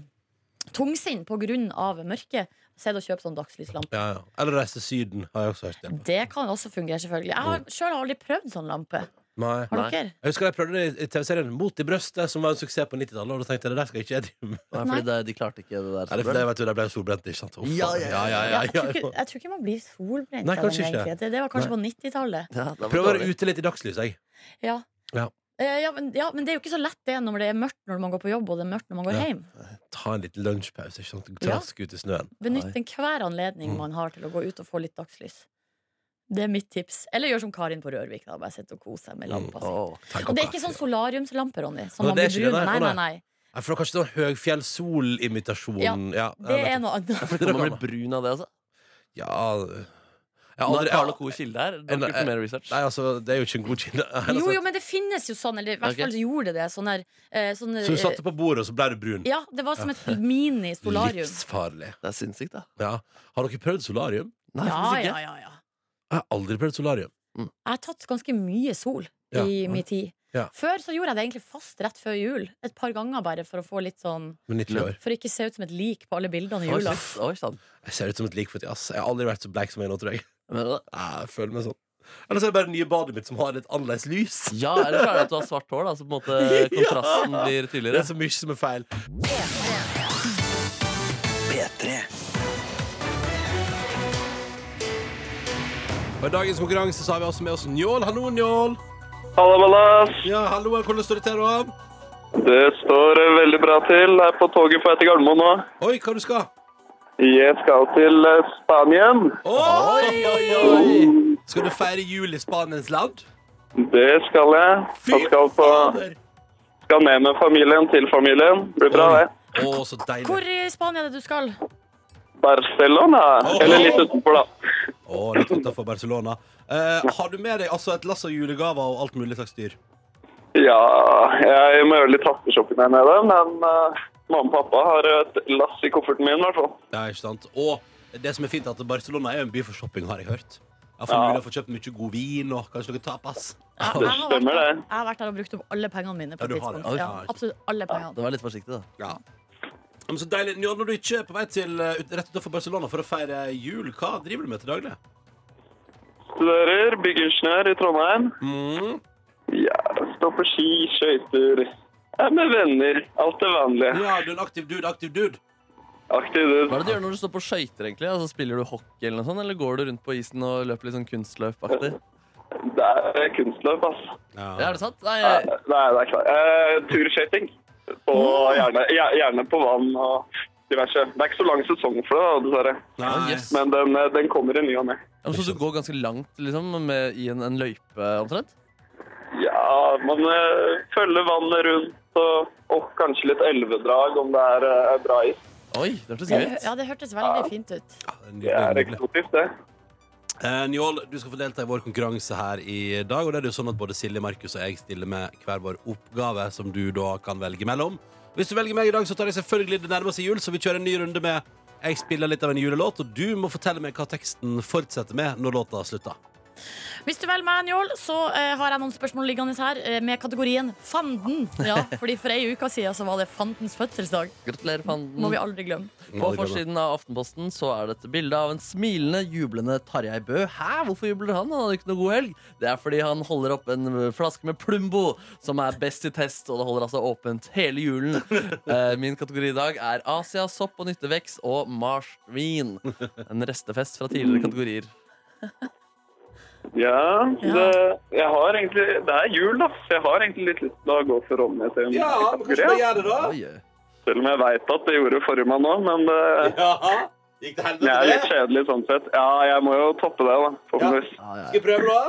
tungsinn på grunn av mørket. Så er det å kjøpe sånn dagslyslampe.
Ja, ja. Eller reise til Syden, har jeg også hørt. Det.
Det kan også fungere, selvfølgelig. Jeg har sjøl aldri prøvd sånn lampe.
Nei.
Har
Nei.
dere?
Jeg husker jeg prøvde det i- i TV-serien Mot i brøstet, som var en suksess på 90-tallet. Og da tenkte jeg det der skal ikke jeg drive med.
Nei,
Nei.
fordi det, de klarte ikke det der.
Nei, det, for det vet du, der ble jeg solbrent, ikke sant? Uff,
Ja, ja, ja,
ja,
Ja,
ja,
jeg,
ja,
tror ikke, jeg tror ikke man blir solbrent
Nei,
av den,
kanskje ikke.
egentlig. Det, det var kanskje på 90-tallet.
Ja, det var
Prøv å være
dårlig.
ute litt i dagslyset, jeg.
Ja.
Ja.
Eh, ja, men, ja, men det er jo ikke så lett det når det er mørkt når man går på jobb, og det er mørkt når man går
Ja.
hjem.
Ta en liten lunsjpause, ikke sant? Trask ut i snøen.
Benytt enhver
Mm.
anledning man har til å gå ut og få litt dagslys. Det er mitt tips. Eller gjør som Karin på Rørvik. Da. Bare sitte og kose seg med
Mm.
lampa. si.
Åh.
Ta en
Og
kopp
det er ikke
kaffe.
sånn solariumslampe, Ronny. Som
Å,
man
det er
blir
ikke
brun.
det,
Nei,
nei. Å,
nei, nei.
Nei, for det er kanskje sånn høgfjellsolimitasjon. Ja, ja,
Det
jeg
er
vet
noe annet.
ikke.
Kan man bli brun av det, altså?
Ja jeg har
Nå
aldri-
er Carl og Co. kilde her. Du har
Nei,
ikke gjort mer research.
Nei, altså, det er jo ikke en god kilde. altså,
Jo, jo, men det finnes jo sånn. Eller i hvert
Ok.
fall gjorde det sånn der. eh, sånn,
Så du
eh,
satte på bordet, og så ble du brun.
Ja, det var som et mini-solarium.
Livsfarlig.
Det er sinnssykt, da.
Ja. Har dere prøvd solarium?
Nei,
Ja,
faktisk
ja,
ikke.
ja, ja.
Jeg har aldri prøvd solarium.
Jeg har tatt ganske mye sol
Ja.
i min tid.
Ja.
Før så gjorde jeg det egentlig fast rett før jul. Et par ganger bare for å få litt sånn
Men 90 år.
For å ikke se ut som et lik på alle bildene i
Oi,
jula.
shit. Oi, sann.
Jeg ser ut som et lik for et jazz. Jeg har aldri vært så bleik som jeg er nå, tror jeg.
Men,
Jeg føler meg sånn. Eller så er det bare det nye badet mitt som har et annerledes lys.
ja, eller så er det at du har svart hår, da, så på en måte kontrasten blir
Det
tydeligere.
er så mye som er feil.
P3.
Og I dagens konkurranse så har vi også med oss Njål. Hallo, Njål.
Halla, Mallas.
Ja, hallo, hvordan står det til, da?
Det står eh, veldig bra til. Jeg er på toget på vei til Gardermoen nå.
Oi, hva du skal?
Jeg skal til eh, Spanien.
Oi, oi, oi! Skal du feire jul i Spaniens land?
Det skal jeg. Jeg skal, på, skal ned med familien til familien. Det blir bra, det.
Å, så deilig.
Hvor i Spania er det du skal?
Barcelona. Eller litt utenfor, da.
Å, litt utenfor Barcelona. Eh, har du med deg altså, et lass av julegaver og alt mulig slags dyr?
Ja, jeg må gjøre litt hasteshopping her nede, men eh, mamma og pappa har et lass i kofferten min, i hvert fall.
Ja, ikke sant? Og det som er fint, er at Barcelona er jo en by for shopping, har jeg hørt. Jeg får
Ja.
mulighet for å kjøpe mye god vin og kanskje noe tapas.
Jeg,
Det
jeg, har vært,
stemmer,
der-
det.
jeg har vært der og brukt opp alle pengene mine. på
Ja,
et
du har det.
tidspunkt. Ja,
Ja,
absolutt alle
Ja,
pengene.
det var litt forsiktig, da.
Ja. Men så deilig. Njå, når du ikke er på vei til eh, ut- rett utenfor Barcelona for å feire jul, hva driver du med til daglig?
Studerer byggingeniør i Trondheim.
Mm.
Ja, står på ski, skøyter. Jeg er med venner. Alt det vanlige.
Ja, du er en aktiv dude, aktiv dude.
Aktiv dude.
Hva er det du gjør når du står på skøyter, egentlig? Altså, spiller du hockey eller noe sånt, eller går du rundt på isen og løper litt sånn kunstløpaktig?
Det er eh, kunstløp, ass. Eh,
Ja, er det sant? Nei,
Nei,
jeg-
det er klart. Eh, Turskøyting.
Mm.
Og gjerne, gjer- gjerne på vann og diverse. Det er ikke så lang sesong for det, da, dessverre.
Ja,
Nei.
yes.
Men den, eh, den kommer i ny og ne.
Ja, men så du går ganske langt liksom, med, i en, en løype, omtrent?
Ja, man eh, følger vannet rundt og, og kanskje litt elvedrag om det er eh, bra is.
Oi, det hørtes gøy
Det,
ut.
ja, det hørtes veldig fint ut.
Det er eksotisk, det.
Eh, Njål, du skal få delta i vår konkurranse her i dag. Og det er jo sånn at Både Silje, Markus og jeg stiller med hver vår oppgave, som du da kan velge mellom. Hvis du velger meg i dag, så tar jeg selvfølgelig det nærmer seg jul, så vi kjører en ny runde med Jeg spiller litt av en julelåt, og du må fortelle meg hva teksten fortsetter med når låta slutter.
Hvis du velger meg, Njål, så eh, har jeg noen spørsmål liggende her eh, med kategorien fanden. Ja, fordi For ei uke siden så var det fandens fødselsdag.
Gratulerer,
Mm. Må vi
Mm.
fanden.
aldri glemme.
På forsiden av Aftenposten så er det et bilde av en smilende, jublende Tarjei Bø. Hæ, hvorfor jubler han? Han hadde ikke noe god helg. Det er fordi han holder opp en eh, flaske med Plumbo, som er best i test, og det holder altså åpent hele julen. Eh, Min kategori i dag er Asia, sopp og nyttevekst og marsvin. En restefest fra tidligere kategorier.
Ja.
Ja, det, jeg har egentlig, det er jul, da. Så jeg har egentlig litt lyst til å gå for Ronny til en kategori. ja.
gjør det, da?
Oi, oi.
Selv om jeg veit at det gjorde forrige mann òg, men eh,
Ja. Gikk det
jeg
helvete,
er litt kjedelig sånn sett. Ja, jeg må jo toppe det, da. Forhåpentligvis.
Ja, ja, ja.
vi prøve, da?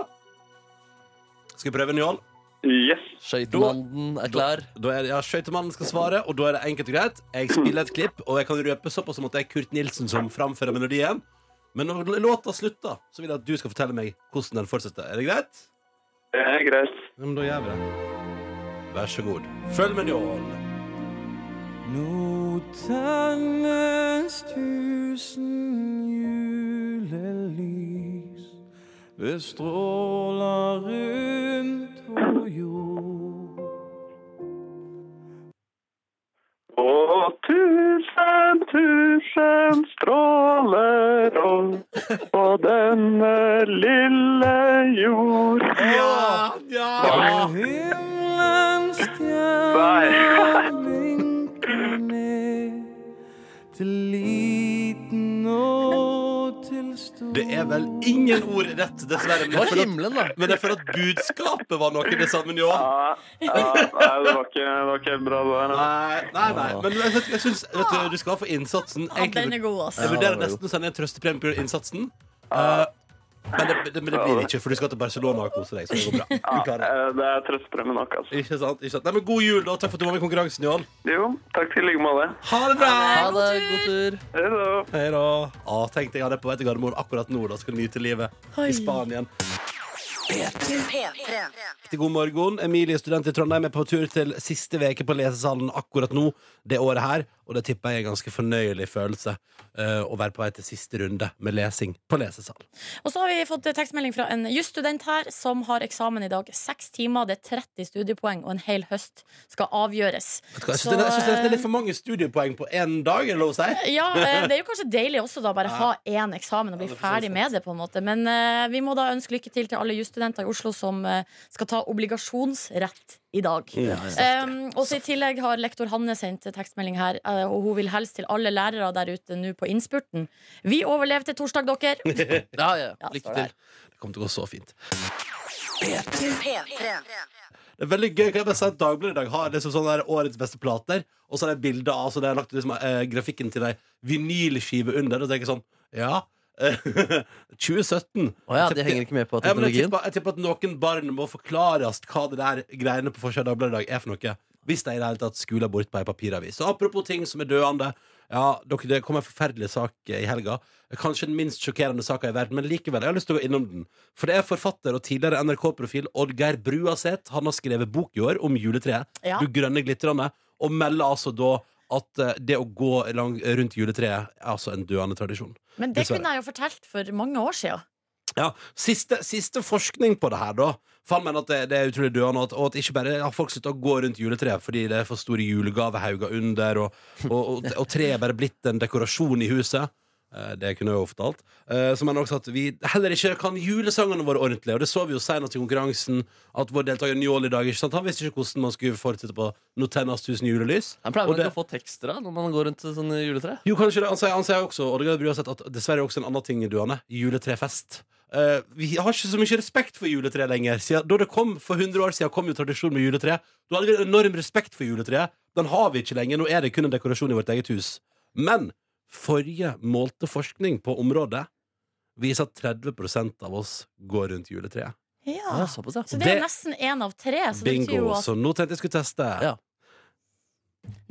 Skal vi prøve, Njål?
Yes.
Skøytemannen er klar.
Da er det, ja, Skøytemannen skal svare, og da er det enkelt og greit. Jeg spiller et klipp, og jeg kan røpe såpass som at det er Kurt Nilsen som framfører melodien. Men når låta slutter, så vil jeg at du skal fortelle meg hvordan den fortsetter. Er det greit?
Det er greit.
Ja, men da gjør vi det. Vær så god. Følg med, Njål.
Notenes tusen julelys bestråler rundt vår jord.
Å, tusen, tusen stråler opp på denne lille jord.
Ja! ja. er vel ingen ord rett, dessverre.
Det
Men jeg
var
føler at,
himmelen, da.
men jeg føler at budskapet var noe det samme nivå.
Ah.
Ja, ja, nei, det var ikke, det var ikke helt bra, det der. altså.
Nei, nei, nei.
Ah.
Men jeg, vet- jeg synes, vet du, du skal ha for innsatsen.
Ja, den er god, altså.
Jeg vurderer nesten å sende en trøstepremie på innsatsen.
Ah.
Eh, men, det, det, men det blir det ikke, for du skal til Barcelona og kose deg. Så det går bra.
Ah.
Du klarer det.
Eh, Det er trøstpremie nok, altså.
Ikke sant, ikke sant. Nei, men God jul, da. Takk for at du var med i konkurransen, Johan.
Jo, takk til i like måte.
Ha det bra!
Ha det. God tur.
Hei da.
Hei da. Å, tenkte jeg hadde på vei til Gardermoen akkurat nå. Da skal du nyte livet i Spanien. Riktig god morgen. Emilie, student i Trondheim, er på tur til siste veke på lesesalen akkurat nå det året her. Og det tipper jeg er en ganske fornøyelig følelse eh, å være på vei til siste runde med lesing på lesesalen.
Og så har vi fått eh, tekstmelding fra en jusstudent her som har eksamen i dag. Seks timer, det er 30 studiepoeng, og en hel høst skal avgjøres.
Vet du hva, Jeg
Så,
syns det, jeg synes det er litt for mange studiepoeng på én dag, er det lov å si?
Ja, eh, Det er jo kanskje deilig også da bare ha én eksamen og bli
Ja, det er for så
ferdig
sant.
med det. på en måte Men eh, vi må da ønske lykke til til alle jusstudenter i Oslo som eh, skal ta obligasjonsrett i dag. Um, og så I tillegg har lektor Hanne sendt tekstmelding her, eh, og hun vil helst til alle lærere der ute nå på innspurten. Vi overlevde torsdag, dere!
Ja, ja.
Ja,
Lykke
står
til.
der.
Det kommer til å gå så fint. Det er veldig gøy. Kan jeg bare si at Dagbladet i dag har liksom sånn der årets beste plater, og så er det bilder av så det er lagt liksom, eh, grafikken til ei vinylskive under, og så tenker jeg sånn Ja. eh, 2017.
Å ja, de henger ikke med på
Ja, men
teknologien.
jeg tipper- Jeg tipper at noen barn må forklares hva det der greiene på forsida av Dagbladet i dag er for noe. Hvis de i det hele tatt skuler bort på ei papiravis. Og apropos ting som er døende. Ja, dere, Det kom en forferdelig sak eh, i helga. Kanskje den minst sjokkerende saka i verden, men likevel. Jeg har lyst til å gå innom den. For det er forfatter og tidligere NRK-profil Oddgeir Bruaseth. Han har skrevet bok i år om juletreet.
Ja.
Du grønne glitrende. Og melder altså da at eh, det å gå lang, rundt juletreet er altså en døende tradisjon.
Men det
Dessverre.
kunne jeg jo fortalt for mange år siden.
Ja, siste, siste forskning på det her, da. For han mener at det, det er utrolig døende, og at, og at ikke bare har folk slutta å gå rundt juletreet fordi det er for store julegavehauger under, og, og, og, og treet er bare blitt en dekorasjon i huset. Eh, Det kunne jeg jo fortalt. Eh, Så mener han også at vi heller ikke kan julesangene våre ordentlig. Og det så vi jo senest i konkurransen, at vår deltaker Njål i dag ikke sant? Han visste ikke hvordan man skulle fortsette på Nå tennes tusen julelys.
Han pleier
Og
vel
det-
ikke å få tekster da når man går rundt til sånne juletre?
jo, kanskje det. Han sier, han sier også og det blir sett at dessverre også en annen ting du, Anne. Juletrefest. Eh, vi har ikke så mye respekt for juletre lenger. Siden, da det kom for 100 år siden, kom jo tradisjonen med juletre. Da hadde vi en enorm respekt for juletreet. Den har vi ikke lenger. Nå er det kun en dekorasjon i vårt eget hus. Men forrige målte forskning på området viser at 30 av oss går rundt juletreet.
Ja,
Ja.
såpass, ja.
Så det er
Det-
jo nesten én av tre. Så Altså, det betyr
Bingo.
jo at
Så nå tenkte jeg skulle teste.
Ja.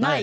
Nei!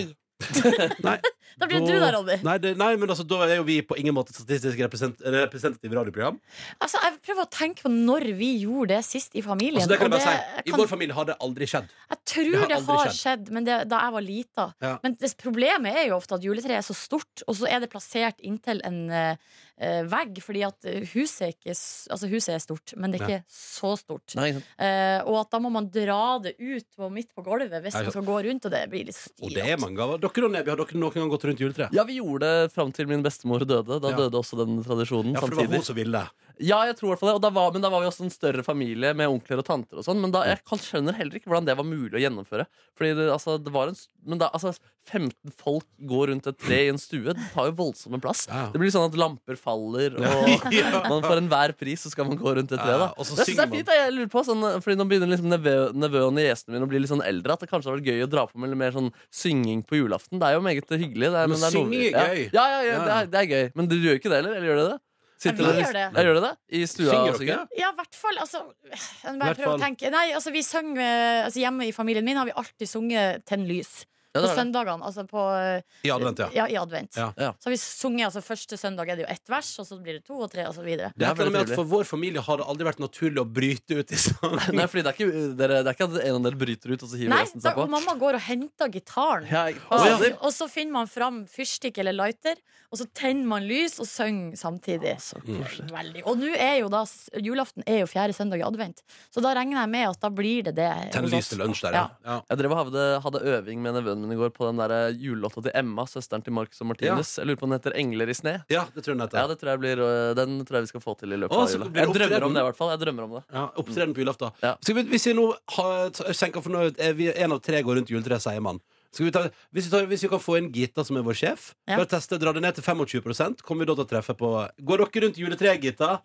Nei.
Da blir du der, Ronny.
Nei, det, nei, men altså, da er jo vi på ingen måte et statistisk represent representativt radioprogram.
Altså, jeg prøver å tenke på når vi gjorde det sist i familien.
Altså, det kan
og
jeg bare si.
jeg
I
kan-
vår familie har det aldri skjedd.
Jeg tror
Det
det
har
har,
aldri skjedd.
skjedd, men det, da jeg var lita.
Ja.
Men det, problemet er jo ofte at juletreet er så stort, og så er det plassert inntil en eh, eh, vegg, fordi at eh, huset er, ikke, s- altså huset er stort, men det er ikke så stort.
Nei, ikke sant.
Eh, og at da må man dra det ut på, midt på gulvet hvis
Nei,
man
sant.
skal gå rundt, og det blir litt
Og det er
styrt.
mange av Dere og Neby, har dere noen gang gått rundt juletreet?
ja, vi gjorde det fram til min bestemor døde. Da
Ja.
døde også den tradisjonen
Ja, for det var
samtidig.
hun som ville.
Ja, jeg tror i hvert fall det. Og da var, men da var vi også en større familie med onkler og tanter og sånn. Men da, jeg kan- skjønner heller ikke hvordan det var mulig å gjennomføre. Fordi det, altså, det var en, s- men da, altså, 15 folk går rundt et tre i en stue. Det tar jo voldsomme plass.
Ja.
Det blir sånn at lamper faller, og man for enhver pris så skal man gå rundt et tre.
Ja,
Da.
og så
Jeg synes det
synger
er fint, da. jeg lurer på sånn, Fordi nå begynner liksom nevø- nevøen og niesene mine å bli litt sånn eldre. At det kanskje har vært gøy å dra på med litt mer sånn synging på julaften. Det er jo meget hyggelig. Det er,
Men
det noe-
synging er
ja.
gøy.
Ja, ja, ja,
Ja,
Det,
ja.
er, det er gøy. Men dere gjør jo ikke det heller? Eller gjør dere det? Sitter
Ja, vi
dere-
gjør det.
Ja, gjør dere det? I stua
Synger
og
dere?
synger?
Ja, i hvert fall. Altså, jeg må
Hvert
bare prøve
fall.
å tenke. Nei, altså, vi sang, eh, altså, hjemme i familien min har vi alltid sunget 'Tenn lys'.
Ja,
På
det har det.
søndagene, altså på eh,
I advent, ja.
Ja, i advent.
Ja.
Ja.
Så har vi sunget altså, første søndag er det jo ett vers, og så blir det to og tre, og så videre.
Det er et eller annet med
veldig
at For vår familie har det aldri vært naturlig å bryte ut i sånn.
Nei, fordi det er, ikke, dere, det er ikke at en av dere bryter ut, og så hiver
Nei,
resten
da,
seg på.
og mamma går og henter gitaren.
Ja, jeg-
Og, så,
Fader.
og så finner man fram fyrstikk eller lighter, og så tenner man lys og synger samtidig. Veldig. Og nå er jo da s- julaften er jo fjerde søndag i advent, så da regner jeg med at da blir det det.
Tenn
hos
lys
oss.
til lunsj der, ja. sånn- ja.
Jeg drev og hadde, hadde øving med nevøen min i går på den der eh, julelåta til Emma, søsteren til Marcus og Martinus. Jeg lurer på om den heter 'Engler i sne'.
Ja, det tror jeg den
Ja,
heter.
det tror jeg blir, øh, Den tror jeg vi skal få til i løpet
Å,
av
så
jula.
blir det
Jeg drømmer om
opptreden.
det, i hvert fall. Jeg drømmer om det
Ja, Opptreden på julaften.
Ja.
Skal vi- Hvis vi nå har- senker for nå er vi en av tre går rundt juletreet, sier man. Skal vi ta, hvis, vi tar, hvis vi kan få inn Gita, som er vår sjef,
Ja.
bare teste, dra det ned til 25 kommer vi da til å treffe på Går dere rundt juletreet, Gita?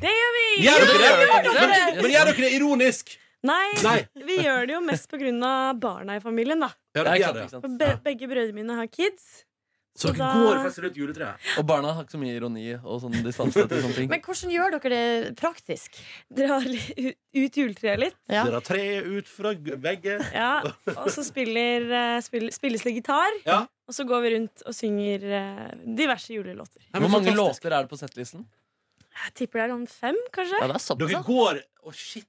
Det gjør vi!
Gjør dere det?
gjør dere!
Men, men gjør dere det ironisk?
Nei,
Nei.
vi gjør det jo mest på grunn av barna i familien, da.
Ja,
Ja, dere
ikke
gjør
sant,
det.
ikke sant.
For be begge brødrene mine har kids.
Så dere
Da-
går faktisk rundt juletreet?
Og barna har ikke så mye ironi og sånn distanse til sånne ting.
Men hvordan gjør dere det praktisk?
Drar li- ut juletreet litt.
Ja.
Dere har treet ut fra g- veggen.
Ja, og så spiller, eh, spill, spilles det gitar.
Ja.
Og så går vi rundt og synger eh, diverse julelåter.
Nei, men
Hvor mange
fantastisk.
låter er det på settlisten?
Jeg tipper det er sånn fem, kanskje.
Ja, det er
Dere
såpass.
går Å, shit.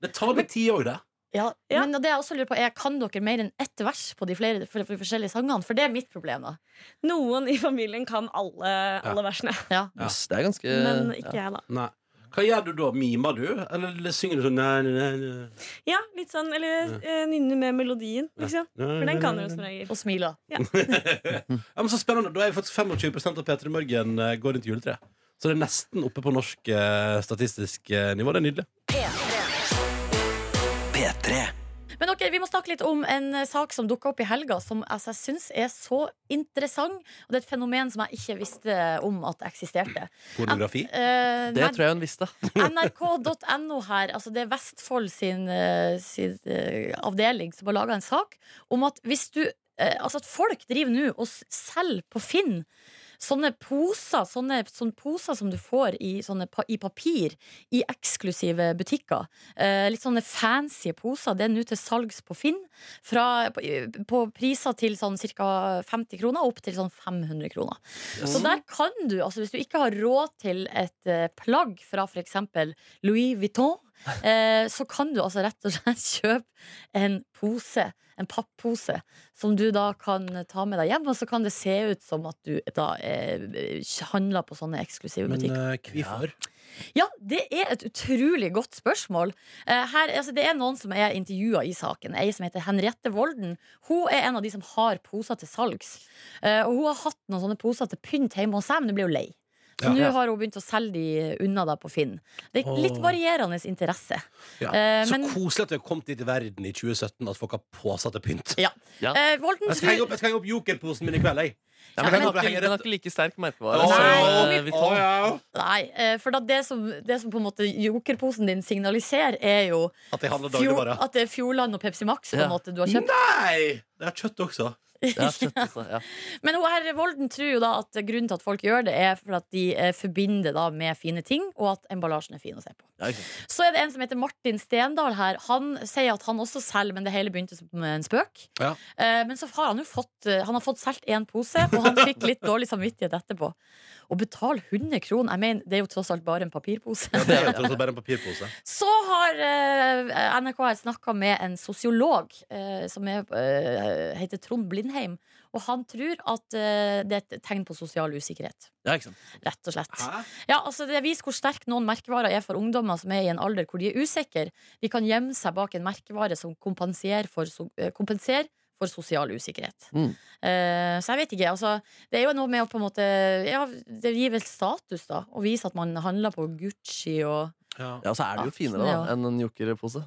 Det tar meg ti år, det.
Ja,
Ja.
Men det jeg også lurer på er, kan dere mer enn ett vers på de, flere, for, for de forskjellige sangene? For det er mitt problem, da.
Noen i familien kan alle, alle versene,
Jøss, Det er ganske
men
Eh,
ikke
ja.
jeg, da.
Nei. Hva gjør du da? Mimer du? Eller synger du sånn nei, nei, nei, nei,
Ja, litt sånn, Eller eh, nynne med melodien, liksom.
nei,
For den kan
nei, nei,
dere som
nei.
regel.
Og smiler.
Ja, men Så spennende. Da er faktisk 25 av P3 Morgen eh, går rundt juletreet. Så det er nesten oppe på norsk eh, statistisk eh, nivå. Det er nydelig.
P3.
Men ok, vi må snakke litt om en eh, sak som dukka opp i helga, som altså, jeg syns er så interessant. Og det er et fenomen som jeg ikke visste eh, om at eksisterte.
Pornografi.
Eh,
Det
nei,
tror jeg hun visste.
NRK.no her, altså det er Vestfold sin, eh, sin eh, avdeling som har laga en sak om at hvis du eh, Altså at folk driver nå og s- selger på Finn sånne poser, sånne, sånne poser som du får i, sånne, pa- i papir i eksklusive butikker. Eh, litt sånne fancy poser. Det er nå til salgs på Finn. Fra, på, på priser til sånn ca. 50 kroner opp til sånn 500 kroner. Så der kan du, altså hvis du ikke har råd til et eh, plagg fra f.eks. Louis Vuitton, eh, så kan du altså rett og slett kjøpe en pose, en papppose, som du da kan ta med deg hjem, og så kan det se ut som at du da eh, handler på sånne eksklusive
Men
butikker.
eh, hvorfor?
Ja, det er et utrolig godt spørsmål. Eh, Her, altså, det er noen som er intervjua i saken. Ei som heter Henriette Volden. Hun er en av de som har poser til salgs. Eh, Og hun har hatt noen sånne poser til pynt hjemme hos seg, men hun blir jo lei. Så
Ja.
nå har hun begynt å selge de unna da på Finn. Det er litt
Åh.
varierende interesse.
Ja.
Eh,
så
men-
koselig at vi har kommet dit i verden i 2017 at folk har påsatt til pynt.
Ja.
Ja.
Eh, Volden
Jeg skal henge
tror
opp, jeg skal henge opp jokerposen min i kveld, jeg.
Ja,
Ja,
men den
men-
har ikke, den har ikke like sterk merkevare.
Åh,
som,
Nei.
eh, Vuitton.
Nei, eh, for da det som, det som på en måte jokerposen din signaliserer, er jo
At jeg handler
fjor,
dagligvare.
at det er Fjordland og Pepsi Max på en
Ja.
måte du har kjøpt.
Nei! Det er kjøtt også.
Ja, shit, altså, ja.
Men hun herre Volden tror jo da at grunnen til at folk gjør det, er for at de eh, forbinder da med fine ting, og at emballasjen er fin å se på.
Ja, ikke
Så er det en som heter Martin Stendal her. Han sier at han også selger, men det hele begynte som en spøk.
Ja.
Eh, men så har han jo fått eh, Han har fått solgt én pose, og han fikk litt dårlig samvittighet etterpå. Å betale 100 kroner, jeg mener, det er jo tross alt bare en papirpose.
Ja, det er jo tross alt bare en papirpose.
Så har eh, NRK her snakka med en sosiolog eh, som er, eh, heter Trond Blindheim. Og han tror at eh, det er et tegn på sosial usikkerhet.
Ja, ikke sant.
Rett og slett.
Hæ?
Ja, altså Det viser hvor sterk noen merkevarer er for ungdommer som er i en alder hvor de er usikre. De kan gjemme seg bak en merkevare som kompenserer for, so eh, kompenserer for sosial usikkerhet.
Mm.
Eh, så jeg vet ikke. altså Det er jo noe med å på en måte Ja, det gir vel status, da. Å vise at man handler på Gucci og
Ja, og så er det jo finere da,
Ja.
enn en jokerpose.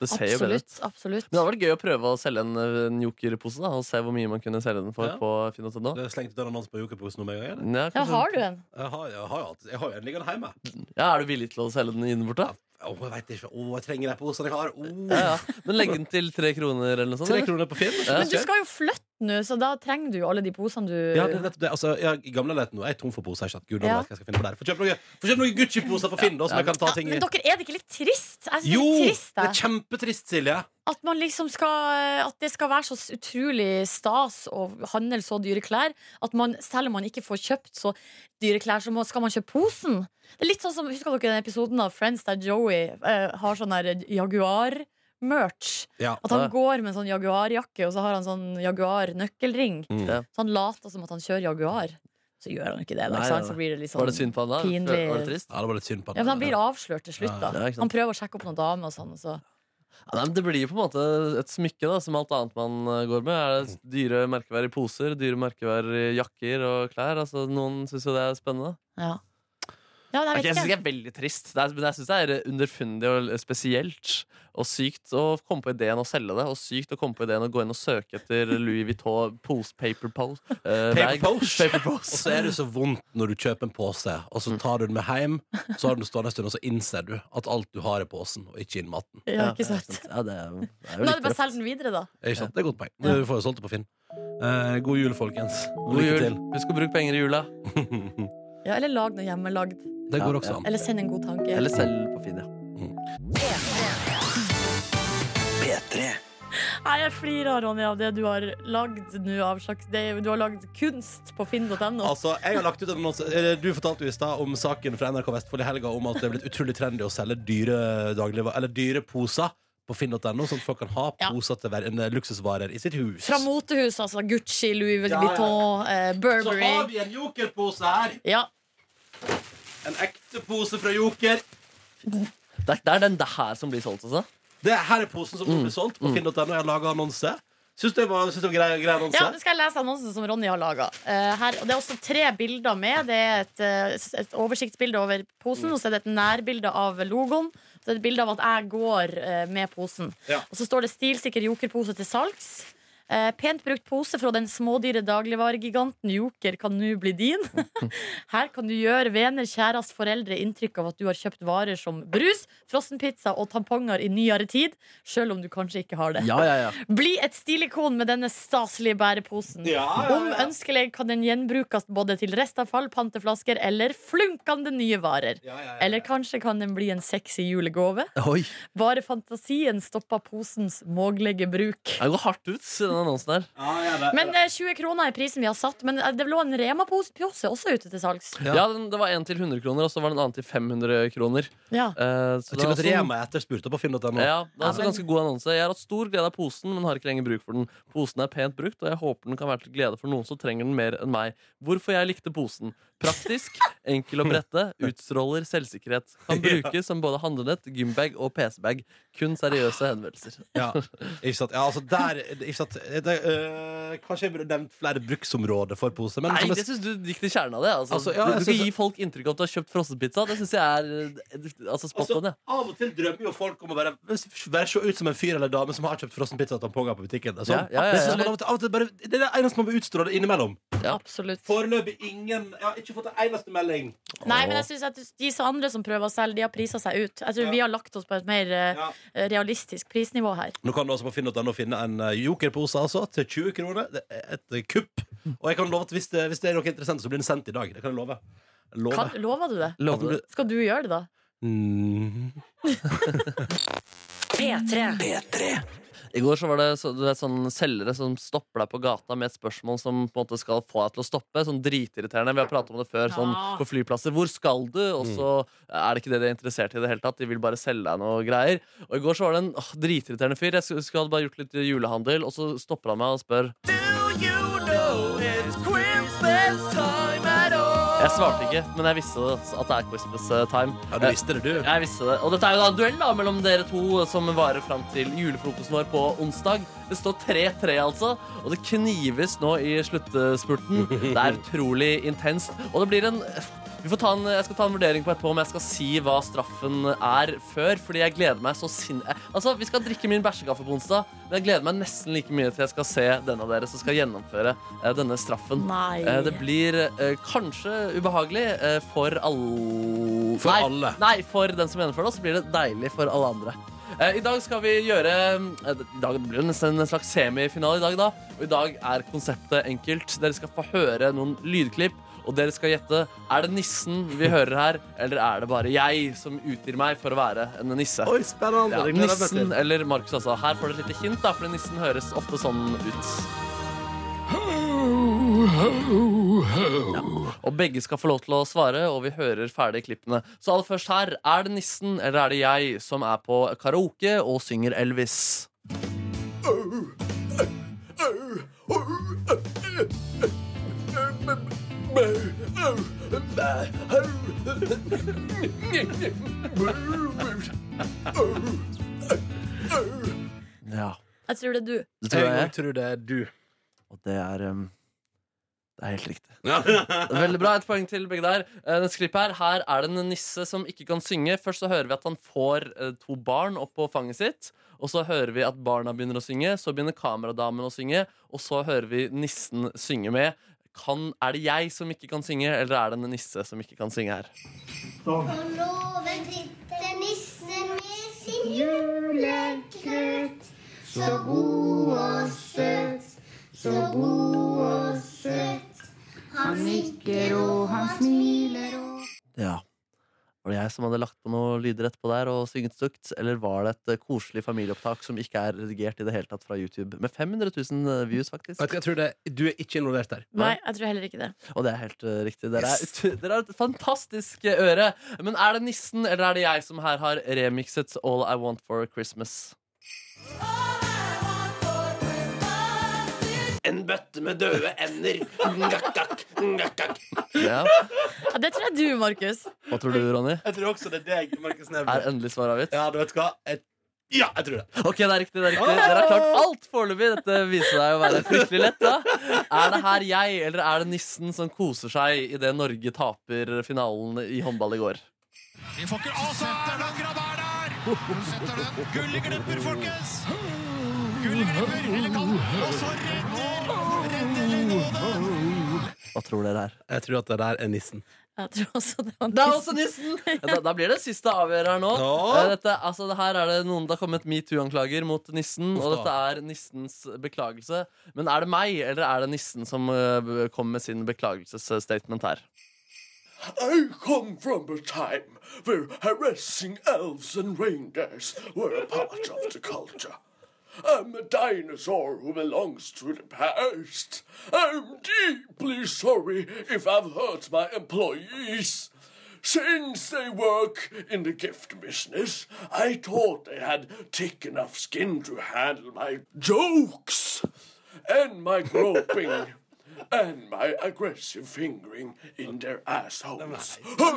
Det ser jo bedre ut.
Absolutt. absolutt
Men det hadde vært gøy å prøve å selge en, eh, en jokerpose da, og se hvor mye man kunne selge den for
Ja.
på finn.no.
Det er slengt ut en annonse på jokerposen om en gang. jeg, eller?
Ja,
Ja,
kanskje-
har du en?
Jeg har, jeg har, jo alltid- jeg har jo en liggende hjemme.
ja, er du villig til å selge den inne borte?
Å, jeg vet ikke. Å, jeg trenger de posene jeg har. Å.
Ja, ja. Men legg den til tre kroner eller noe sånt?
Tre
eller?
kroner på film.
Ja.
Men du skal jo flytte nå, så da trenger du jo alle de posene du
Ja, det er nettopp det. Altså, jeg, I gamleleiligheten nå jeg er tom for poser. ikke sant? Gud, nå
Ja.
vet jeg hva jeg skal finne på der. Få kjøpe noen, få kjøpt noen Gucci-poser på Finn, da, som jeg kan ta ting i.
Men dere, er det ikke litt trist? Jeg synes
Jo!
det er litt trist
Det er
jeg.
kjempetrist, Silje.
At, man liksom skal, at det skal være så utrolig stas å handle så dyre klær. At man, selv om man ikke får kjøpt så dyre klær, så må, skal man kjøpe posen. Det er litt sånn som, Husker dere den episoden av Friends der Joey eh, har sånn der Jaguar-merch?
Ja.
At han
Ja.
går med en sånn Jaguar-jakke, og så har han sånn Jaguar-nøkkelring.
Mm.
Ja.
Så han later som at han kjører Jaguar. Så gjør han ikke det. Da,
Nei,
ikke sant?
nei,
Så blir det litt sånn
Var det synd på han da?
Pinlig.
Var det trist?
Ja, det var litt synd på
Ja, men han blir avslørt til slutt, da.
Ja, ikke sant.
Han prøver å sjekke opp noen dame og sånn. og Så.
Ja, nei, men det blir jo på en måte et smykke, da, som alt annet man eh, går med. Er det dyre merkevarer i poser, dyre merkevarer i jakker og klær. Altså, noen syns jo det er spennende.
Ja. Ja, det
Ok,
vet
jeg
ikke.
syns det er veldig trist, det er, men jeg syns det er underfundig og spesielt. Og sykt å komme på ideen å selge det, og sykt å komme på ideen å gå inn og søke etter Louis Vuitton pose paper pose. eh,
Paper
bag.
pouch.
Paper
Og
pose.
så er det så vondt når du kjøper en pose, og så tar du den med hjem, så har du den stående en stund, og så innser du at alt du har, er posen, og ikke inn maten.
Ja, ikke sant.
Ja, det er, det er
Men
jo
da er det bare
litt
å
røft.
selge den videre, da.
Ikke sant? Det er et godt poeng. Du får jo solgt det på Finn. Eh, god jul, folkens. Og
God jul.
lykke til.
Husk å bruke penger i jula.
Ja, eller lag noe hjemmelagd.
Det går
Ja,
også an.
Eller send en god tanke.
Eller selg på Finn, ja.
P3.
Nei, jeg flirer, Ronny, av det du har lagd nå av slags det, Du har lagd kunst på finn.no.
Altså, jeg har lagt ut en annonse eller, Du fortalte jo i stad om saken fra NRK Vestfold i helga om at det er blitt utrolig trendy å selge dyre dagligvarer Eller dyre poser på finn.no, sånn at folk kan ha
Ja.
poser til hver- en luksusvarer i sitt hus.
Fra motehus, altså. Gucci, Louis Vuitton, eh,
Så
Burberry.
har vi en jokerpose her!
Ja.
En ekte pose fra Joker.
Det er, det er den det her som blir solgt, altså.
Det her er posen som blir solgt på finn.no. Jeg har laga annonse. Syns det var, syns det var grei, grei annonse?
Ja, nå skal jeg lese annonsen som Ronny har laga. det er også tre bilder med. Det er et, eh, s- et oversiktsbilde over
Mm.
posen, og så er det et nærbilde av logoen. Så er det et bilde av at jeg går eh, med posen.
Ja.
Og så står det 'stilsikker jokerpose til salgs'. Eh, pent brukt pose fra den smådyre dagligvaregiganten Joker kan nå bli din. Her kan du gjøre venner, kjæreste, foreldre inntrykk av at du har kjøpt varer som brus, frossenpizza og tamponger i nyere tid, sjøl om du kanskje ikke har det.
Ja, ja, ja.
Bli et stilikon med denne staselige bæreposen. Om ønskelig kan den gjenbrukes både til restavfall, panteflasker eller flunkende nye varer. Eller kanskje kan den bli en sexy julegave.
Oi.
Bare fantasien stopper posens mågelige bruk.
Den går hardt ut, den annonsen der.
Men eh, 20 kroner er prisen vi har satt. Men eh, det lå en Rema-pose også ute til salgs.
Ja, den, Det var en til 100 kroner, og så var det en annen til 500 kroner.
Ja.
Eh, så det
Og Til
er
at
også-
Rema er etterspurt på finn.no.
Ja, det er altså
men-
ganske god annonse. Jeg har hatt stor glede av posen, men har ikke lenger bruk for den. Posen er pent brukt, og jeg håper den kan være til glede for noen som trenger den mer enn meg. Hvorfor jeg likte posen. Praktisk, enkel å brette, utstråler selvsikkerhet. Kan brukes som både handlenett, gymbag og PC-bag. Kun seriøse henvendelser.
Ja, ikke sant? Ja, altså der, ikke sant? Det, øh, kanskje jeg burde nevnt flere bruksområder for pose. Men
Nei,
som
det syns du gikk til kjernen av det. Altså.
Altså, ja,
Du-
jeg
du skal
synes-
gi folk inntrykk av at du har kjøpt frossenpizza. Det syns jeg er eh, altså, spot on. Ja.
av og til drømmer jo folk om å være, være se ut som en fyr eller dame som har kjøpt frossenpizza og tamponger på butikken. Det er sånn.
Ja, ja, ja, ja.
Det synes man av og til- av og til bare, det er det eneste man vil utstråle innimellom.
Absolutt.
Foreløpig ingen Jeg har ikke fått en eneste melding.
Nei, men jeg synes at de som andre som prøver å selge, de har prisa seg ut. Jeg tror vi har lagt oss på et mer eh, realistisk prisnivå her.
Nå kan du altså på finn.no finne en eh, jokerpose altså, til 20 kroner. Det er et eh, kupp. Og jeg kan love at hvis det, hvis det er noe interessant, så blir den sendt i dag. Det kan jeg love. love.
Kan, lover du det?
At den blir-
Skal du gjøre det, da?
Mm.
P3.
I går så var det så, du vet, sånn selgere som stopper deg på gata med et spørsmål som på en måte skal få deg til å stoppe. Sånn dritirriterende. Vi har pratet om det før. Sånn
Ja.
på flyplasser. Hvor skal du? Og så er det ikke det de er interessert i i det hele tatt. De vil bare selge deg noe greier. Og i går så var det en åh, dritirriterende fyr. Jeg skulle skulle hadde bare gjort litt julehandel, og så stopper han meg og spør Jeg svarte ikke, men jeg visste at det er Christmas eh, time.
Ja, du visste det, du.
Jeg visste det. Og dette er jo da en duell da mellom dere to som varer fram til julefrokosten vår på onsdag. Det står 3-3, altså. Og det knives nå i sluttspurten. Det er utrolig intenst. Og det blir en vi får ta en, Jeg skal ta en vurdering på etterpå om jeg skal si hva straffen er før. Fordi jeg gleder meg så sinn... eh, Altså, Vi skal drikke min bæsjekaffe på onsdag, men jeg gleder meg nesten like mye til jeg skal se den av dere som skal gjennomføre eh, denne straffen.
Nei.
Eh, Det blir eh, kanskje ubehagelig eh, for alle
For
nei,
alle.
Nei, for den som gjennomfører det, og så blir det deilig for alle andre. Eh, I dag skal vi gjøre eh, I dag blir det nesten en slags semifinale i dag, da. Og i dag er konseptet enkelt. Dere skal få høre noen lydklipp. Og dere skal gjette er det nissen vi hører her, eller er det bare jeg som utgir meg for å være en nisse.
Oi, spennende.
Ja,
Det gleder jeg meg til.
nissen eller Markus, altså. Her får dere et lite hint, da, for nissen høres ofte sånn ut. Ja. Og begge skal få lov til å svare, og vi hører ferdig klippene. Så aller først her, er det nissen eller er det jeg som er på karaoke og synger Elvis? Ja,
Jeg tror det er du.
det
Jeg
tror jeg.
tror det er du.
Og det er um, Det er helt riktig. Veldig bra. Et poeng til begge der. Eh, neste klipp her. her er det en nisse som ikke kan synge. Først så hører vi at han får eh, to barn opp på fanget sitt. Og så hører vi at barna begynner å synge, så begynner kameradamen å synge, og så hører vi nissen synge med. Kan, er det jeg som ikke kan synge, eller er det en nisse som ikke kan synge her?
Og låven sitter nissen med sin julegrøt. Så god og søt, så god og søt. Han nikker og han smiler og
Ja. Var det jeg som hadde lagt på noe lyder etterpå der og synget stukt, eller var det et eh, koselig familieopptak som ikke er redigert i det hele tatt fra YouTube? Med 500 000 eh, views, faktisk.
Vet du hva, jeg tror det, du er ikke involvert der.
Nei, jeg tror heller ikke det.
Og det er helt eh, riktig. Dere, er, ut- dere har et fantastisk eh, øre. Men er det nissen eller er det jeg som her har remikset All I Want for Christmas?
En bøtte med døde ender. Ngakk-akk, ngakk-akk.
Ja.
Ja, det tror jeg du, Markus.
Hva tror du, Ronny?
Jeg tror også det er deg, Markus
Er endelig svaret avgitt?
Ja, du vet hva? Jeg, ja, jeg tror det.
Ok, det er riktig. det er riktig Dere har klart alt foreløpig. Dette viser deg å være fryktelig lett. da Er det her jeg, eller er det nissen som koser seg idet Norge taper finalen i håndball i går?
Vi får ikke avsatt den grabber der! Hun setter den. Gull i glipper, folkens! Gull i glipper, hele kanten. Og så redder, redder Lenode!
Hva tror dere her?
Jeg tror at det der er nissen.
Jeg tror også det var
Det er også nissen! Da, da blir det siste avgjør her nå.
Ja.
Eh, Dette, altså, det her er det noen Det har kommet metoo-anklager mot nissen, og dette er nissens beklagelse. Men er det meg, eller er det nissen som eh, kom med sin beklagelsesstatement her?
I come from a time where harassing elves and reindeers were a part of the culture. I'm a dinosaur who belongs to the past. I'm deeply sorry if I've hurt my employees. Since they work in the gift business, I thought they had thick enough skin to handle my jokes and my groping. And my aggressive fingering in their assholes. Ho,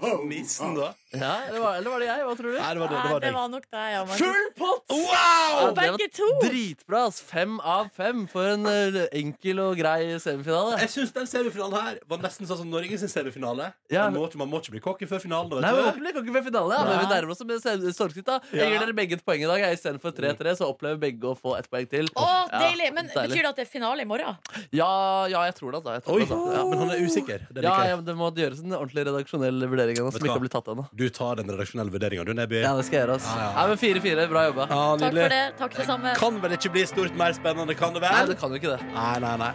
ho,
Nissen, da?
Ja, eller var, eller var det jeg? Hva tror du?
Nei, det var det.
Nei,
det
det
var deg.
var nok deg, ja, Markus.
Full pott!
Wow!
Ja, det var
Begge to!
Dritbra. ass. Fem av fem for en eh, enkel og grei semifinale.
Jeg syns den semifinalen her var nesten sånn som Norge sin semifinale.
Ja,
man, må ikke, man må ikke bli cocky før finalen. Da,
Nei, men
vet du.
Vi kan ikke bli finale, ja, men vi nærmer oss med sem- stormskritt. da Jeg
Ja.
gir dere begge et poeng i dag. jeg. Istedenfor 3-3 så opplever begge å få ett poeng til.
Å,
Ja,
deilig! Men
deilig.
betyr det at det er finale i morgen?
Ja, ja, jeg tror det. altså. Jeg tror
Oi,
det altså. Ja.
Men han er usikker. Det liker
Ja,
jeg.
ja, men Det må gjøres en ordentlig redaksjonell vurdering. av det,
Vet
Som
du
ikke
hva?
har blitt tatt ennå.
Du tar den redaksjonelle vurderinga, du, Neby.
Ja, det skal jeg gjøre. ass. Nei, men Fire-fire. Bra jobba.
Ja,
Takk for det. Takk det samme.
Kan vel ikke bli stort mer spennende, kan det
Nei,
være?
det kan jo ikke det.
Nei, nei, nei.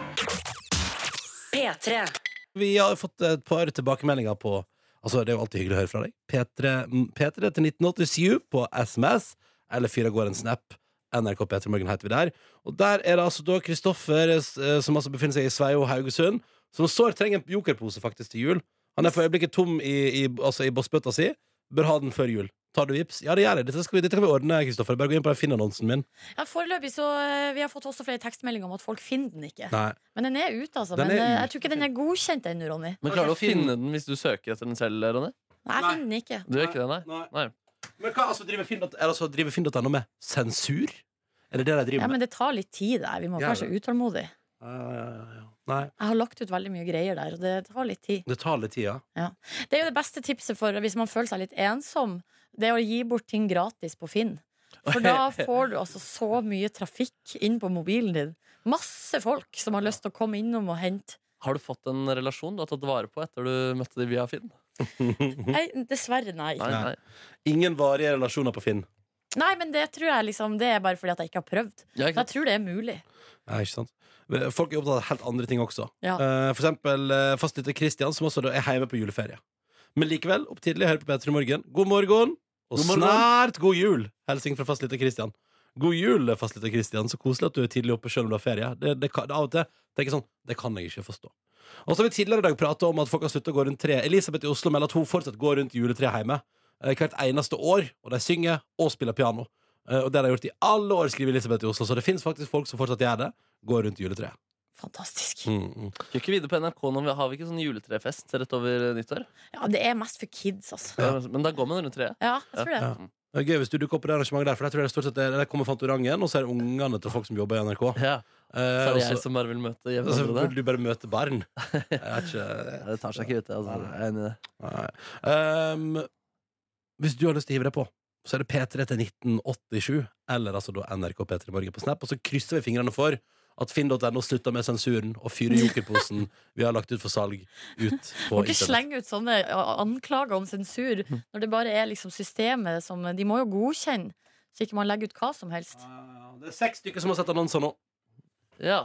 P3.
Vi har fått et par tilbakemeldinger på Altså, Det er jo alltid hyggelig å høre fra deg. P3, m, P3 til 1987 på SMS, eller Fyra går en snap. NRK P3 Morgen heter vi der. Og der er det altså da Kristoffer, eh, som altså befinner seg i Sveio, Haugesund, som sårt trenger en jokerpose faktisk til jul. Han er for øyeblikket tom i, i, altså i bossbøtta si. Bør ha den før jul. Tar du vips? Ja, det gjør jeg. Dette, skal vi, dette kan vi ordne, Kristoffer. Bare gå inn på den Finn-annonsen min.
Ja, foreløpig så eh, Vi har fått også flere tekstmeldinger om at folk finner den ikke.
Nei.
Men den er ute, altså.
Den
Men
er
eh,
ute.
jeg tror ikke den er godkjent ennå, Ronny.
Men klarer du å finne den hvis du søker etter den selv, Ronny?
Nei, jeg finner den ikke.
Du gjør ikke det, nei?
Nei.
nei.
Men hva altså, driver Finn- er det altså, driver Finn.no med sensur? Er det det de driver
Ja,
med?
men det tar litt tid der. Vi må
Ja,
kanskje være utålmodige.
Ja, ja, ja, ja. Nei.
Jeg har lagt ut veldig mye greier der, og det tar litt tid.
Det tar litt tid, ja.
Det er jo det beste tipset for hvis man føler seg litt ensom, det er å gi bort ting gratis på Finn. For da får du altså så mye trafikk inn på mobilen din. Masse folk som har lyst til å komme innom og hente.
Har du fått en relasjon du har tatt vare på etter du møtte dem via Finn?
Nei, dessverre, nei.
Nei, nei.
Ingen varige relasjoner på Finn.
Nei, men det tror jeg liksom Det er bare fordi at jeg ikke har prøvd.
Ja, ikke
Jeg
sant?
tror det er mulig.
Ja, ikke sant? Folk er opptatt av helt andre ting også.
Ja.
Eh, for eksempel eh, fastlytter Kristian, som også da er hjemme på juleferie. Men likevel, opp tidlig, hører på P3 Morgen. God morgen, og
God morgen.
snart god jul! Hilsing fra fastlytter Kristian. God jul, fastlytter Kristian. Så koselig at du er tidlig oppe selv om du har ferie. Det, det, kan- av og til tenker jeg sånn Det kan jeg ikke forstå. Og så har vi tidligere i dag prata om at folk har slutta å gå rundt tre. Elisabeth i Oslo melder at hun fortsatt går rundt juletreet hjemme eh, hvert eneste år. Og de synger og spiller piano. Eh, Og det har de gjort i alle år, skriver Elisabeth i Oslo. Så det fins faktisk folk som fortsatt gjør det. Går rundt juletreet.
Fantastisk.
Mm, mm.
Gjør ikke vi det på NRK nå? Har vi ikke sånn juletrefest rett over nyttår?
Ja, det er mest for kids, altså.
Men da går man rundt treet. Mm.
Ja, jeg tror det.
Ja. Det er gøy hvis du dukker opp på det arrangementet der, for der tror jeg det stort sett er, der kommer Fantorangen, og så er det ungene til folk som jobber i NRK. Eh,
Så er
og
det jeg som bare vil møte hjemme.
så
med
burde
det.
du bare møte barn. Jeg vet ikke
Det tar seg ikke ut, altså. Jeg er enig i det.
Nei. Ehm, hvis du har lyst til å hive deg på, så er det P3 til 1987, eller altså da NRK P3 Morgen på Snap. Og så krysser vi fingrene for at finn.no slutter med sensuren og fyrer jokerposen vi har lagt ut for salg, ut på
Må ikke slenge ut sånne anklager om sensur når det bare er liksom systemet som De må jo godkjenne, så ikke man legger ut hva som helst.
Det er seks stykker som har sett annonser nå.
Ja,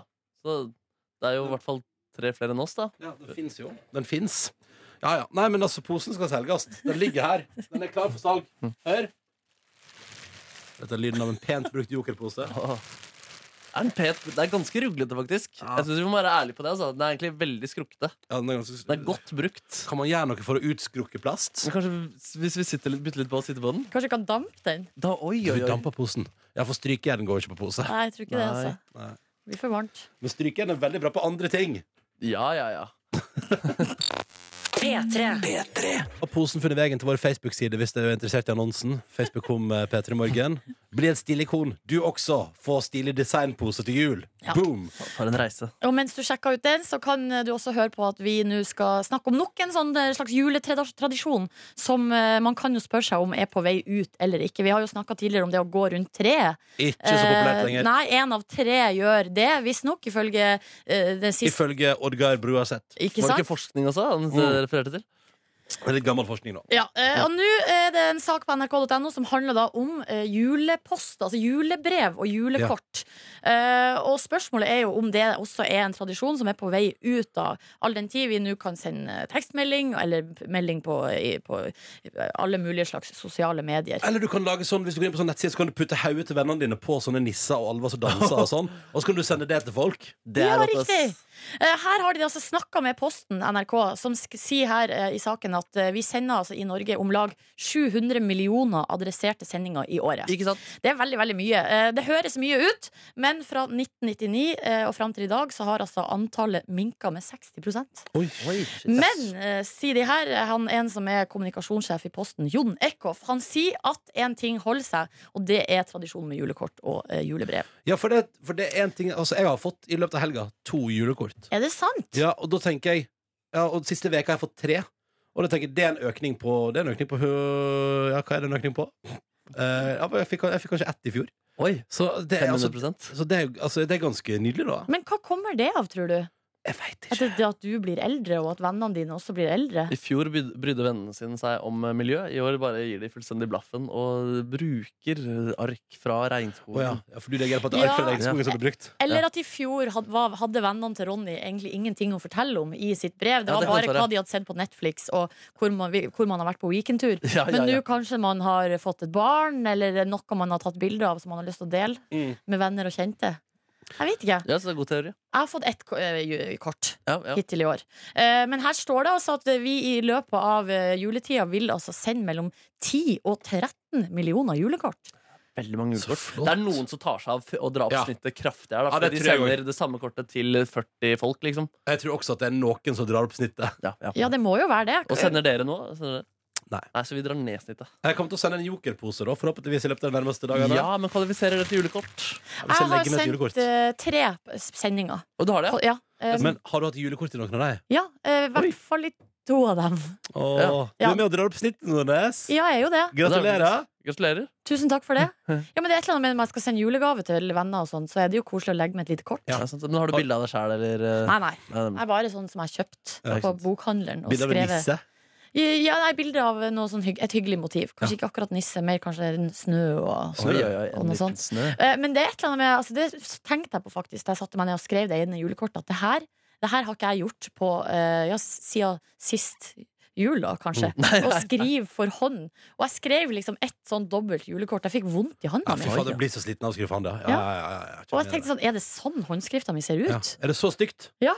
så det er jo i hvert fall tre flere enn oss, da.
den fins jo. Den fins. Ja, ja. Nei, men altså, posen skal selges. Den ligger her. Den er klar for salg. Hør. Dette er lyden av en pent brukt jokerpose.
Er den pet? Det er ganske ruglete, faktisk. Jeg synes Vi må være ærlige på det. Altså. Den er egentlig veldig skrukkete.
Ja, den er ganske... Det
er godt brukt.
Kan man gjøre noe for å utskrukke plast?
Men kanskje hvis vi sitter litt, bytter litt på å sitte på den?
Kanskje kan dampe den?
Da, oi,
Du
oi, oi.
damper posen. Ja, for strykejern går ikke på pose.
Nei, jeg tror ikke det.
Nei.
altså Det blir for varmt.
Men strykejern er veldig bra på andre ting.
Ja, ja, ja.
P3.
Har posen funnet veien til vår Facebook-side hvis du er interessert i annonsen? Facebook kom eh, P3 Morgen. Bli et stilikon, du også. Få stilig designpose til jul. Boom!
For en reise.
Og mens du sjekker ut den, så kan du også høre på at vi nå skal snakke om nok en sånn eh, slags juletradisjon som eh, man kan jo spørre seg om er på vei ut eller ikke. Vi har jo snakka tidligere om det å gå rundt treet.
Ikke så populært
Eh,
lenger.
Nei, én av tre gjør det, visstnok, ifølge eh, den siste
Ifølge Oddgar Broaseth.
Ikke
Var det
sant?
ikke forskning også han
Mm.
refererte til?
Det er Litt gammel forskning, da.
Ja, eh, og nå er det en sak på nrk.no som handler da om eh, julepost, altså julebrev og julekort. Eh, og spørsmålet er jo om det også er en tradisjon som er på vei ut av all den tid vi nå kan sende tekstmelding eller melding på, i- på alle mulige slags sosiale medier.
Eller du kan lage sånn, hvis du går inn på sånn nettside, så kan du putte hodet til vennene dine på sånne nisser og alver som danser og sånn, og så kan du sende det til folk.
Det
Ja,
er rått, ass.
riktig! Eh, Her har de altså snakka med Posten NRK, som sk- sier her eh, i saken at eh, vi sender altså i Norge om lag 700 millioner adresserte sendinger i året.
Ikke sant?
Det er veldig, veldig mye. Eh, Det høres mye ut, men fra 1999 eh, og fram til i dag så har altså antallet minka med 60
Oi.
Men, eh, sier de her, han en som er kommunikasjonssjef i Posten, Jon Eckhoff, han sier at én ting holder seg, og det er tradisjonen med julekort og eh, julebrev.
Ja, for det, for det er en ting Altså, jeg har fått i løpet av helga to julekort.
Er det sant?
Ja, og da tenker jeg ja, Og siste veka har jeg fått tre Og da tenker jeg, det er en økning på Det er en økning på hø- Ja, hva er det en økning på? Eh, ja, men jeg, fikk, jeg fikk kanskje ett i fjor
Oi,
Så det er, altså,
500
så det er, jo- altså, det er ganske nydelig da
Men hva kommer det av, tror du?
Jeg vet
At,
ikke
det, at du blir eldre, og at vennene dine også blir eldre?
I fjor bryd- brydde vennene sine seg om eh, miljø. I år bare gir de fullstendig blaffen og bruker eh, ark fra regnskogen.
Åja, ja, for du legger på at det er alt fra
Ja.
regnskogen som blir brukt
Eller at i fjor had, var- hadde vennene til Ronny egentlig ingenting å fortelle om i sitt brev. Det
Ja,
var
det kan
bare
være.
hva de hadde sett på Netflix, og hvor man, vi- hvor man har vært på weekendtur.
Ja, ja,
Men
ja.
nå kanskje man har fått et barn, eller noe man har tatt bilde av som man har lyst til å dele
Mm.
med venner og kjente. Jeg vet ikke.
Ja, så det er god teori.
Jeg har fått ett ko- eh, ju- kort
Ja, ja.
hittil i år. Eh, Men her står det altså at vi i løpet av eh, juletida vil altså sende mellom 10 og 13 millioner julekort.
Veldig mange
Så
julekort.
flott.
Det er noen som tar seg av f- og drar opp
Ja.
snittet kraftig her. Da,
Ja,
for
det
de
tror jeg
sender det samme kortet til 40 folk, liksom.
Jeg tror også at det er noen som drar opp snittet
Ja, ja.
Ja, det må jo være det.
Og sender dere noe? Sender dere?
Nei.
så vi drar ned snittet.
Jeg kommer til å sende en jokerpose da Forhåpentligvis i løpet av de nærmeste dagene
Ja, men kvalifiserer det til julekort.
hvis jeg
Jeg har
legger meg et
sendt
julekort.
eh, tre sendinger.
Og du har det?
På-
ja?
Ja, eh,
Men har du hatt julekort i noen av deg?
ja eh, i hvert fall i to av dem.
Åh, du
Ja.
er med og drar opp snittet, Nordnes
Ja, jeg er jo det.
Gratulerer
Gratulerer.
Tusen takk for det. Ja, men det er et eller annet med når jeg skal sende julegave til venner, og sånn, så er det jo koselig å legge med et lite kort.
Ja. sant. Men har du bilde av deg sjæl, eller? eh,
Nei, nei.
nei,
Det er bare sånn som jeg har kjøpt
Ja, ikke
på
sant.
bokhandleren. Og
Bilder av en
skrevet
nisse
Ja, nei, bilder av noe sånn hygg, et hyggelig motiv. Kanskje ikke akkurat nisse, mer kanskje en snø og
Oi, oi, oi,
Og
en
noe
liten
sånt.
snø.
Eh, Men det er et eller annet med altså, Det tenkte jeg på faktisk da jeg satte meg ned og skrev det inn i julekortet, at det her, det her har ikke jeg gjort på eh, ja, siden sist jul, da, kanskje.
Mm.
Og skrive for hånd. Og jeg skrev liksom ett sånn dobbelt julekort. Jeg fikk vondt i
Ja,
hånda
fy
mi.
faen, jeg blir så sliten av å skrive faen det. Ja, ja, ja, ja, ja,
Og
kjenner
jeg
det.
tenkte sånn, er det sånn håndskrifta mi ser ut?
Ja. Er det så stygt?
Ja.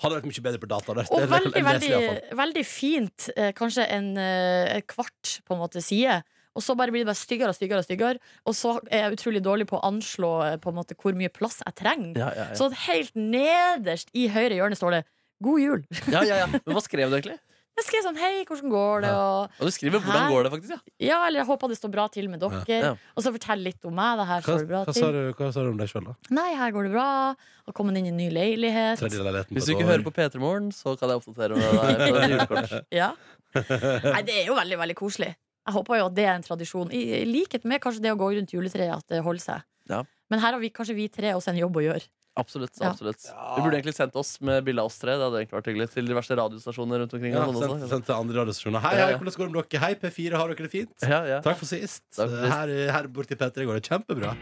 Hadde vært mye bedre på data. Det,
Og
det-
veldig,
det leser
veldig,
jeg i hvert fall.
veldig fint. eh, Kanskje en eh, et kvart på en måte side. Og så bare blir det bare styggere og styggere. Og styggere Og så er jeg utrolig dårlig på å anslå eh, på en måte hvor mye plass jeg trenger.
Ja, ja, ja.
Så helt nederst i høyre hjørne står det 'God jul'.
ja, ja, ja. Men hva skrev du egentlig?
Jeg skrev sånn Hei, hvordan går det? Og,
Og du skriver hvordan
Hæ?
går det faktisk, ja.
ja, eller jeg håper det står bra til med dere.
Ja.
Ja.
Og så fortell litt om meg. Det her
Hva,
står det bra
hva, sa
til.
du, hva sa du om deg sjøl, da?
Nei, her går det bra. Og kommet inn i en ny leilighet.
Tredje leiligheten på
Hvis
et
du ikke
år.
hører på P3 Morgen, så kan jeg oppdatere deg der på julekort.
Ja. Nei, det er jo veldig, veldig koselig. Jeg håper jo at det er en tradisjon. I i likhet med kanskje det å gå rundt juletreet, at det holder seg.
Ja.
Men her har vi, kanskje vi tre også en jobb å gjøre.
Absolutt.
Ja.
absolutt Du burde egentlig sendt oss med bilde av oss tre. Det hadde egentlig vært hyggelig Til diverse radiostasjoner rundt omkring.
ja,
og sånn også,
sendt,
kanskje.
sendt til andre radiostasjoner. Hei,
Ja,
hei,
ja.
hvordan går det med dere? Hei, P4, har dere det fint?
ja, ja.
Takk for sist.
Takk for sist.
Her, her borte i P3 går det kjempebra.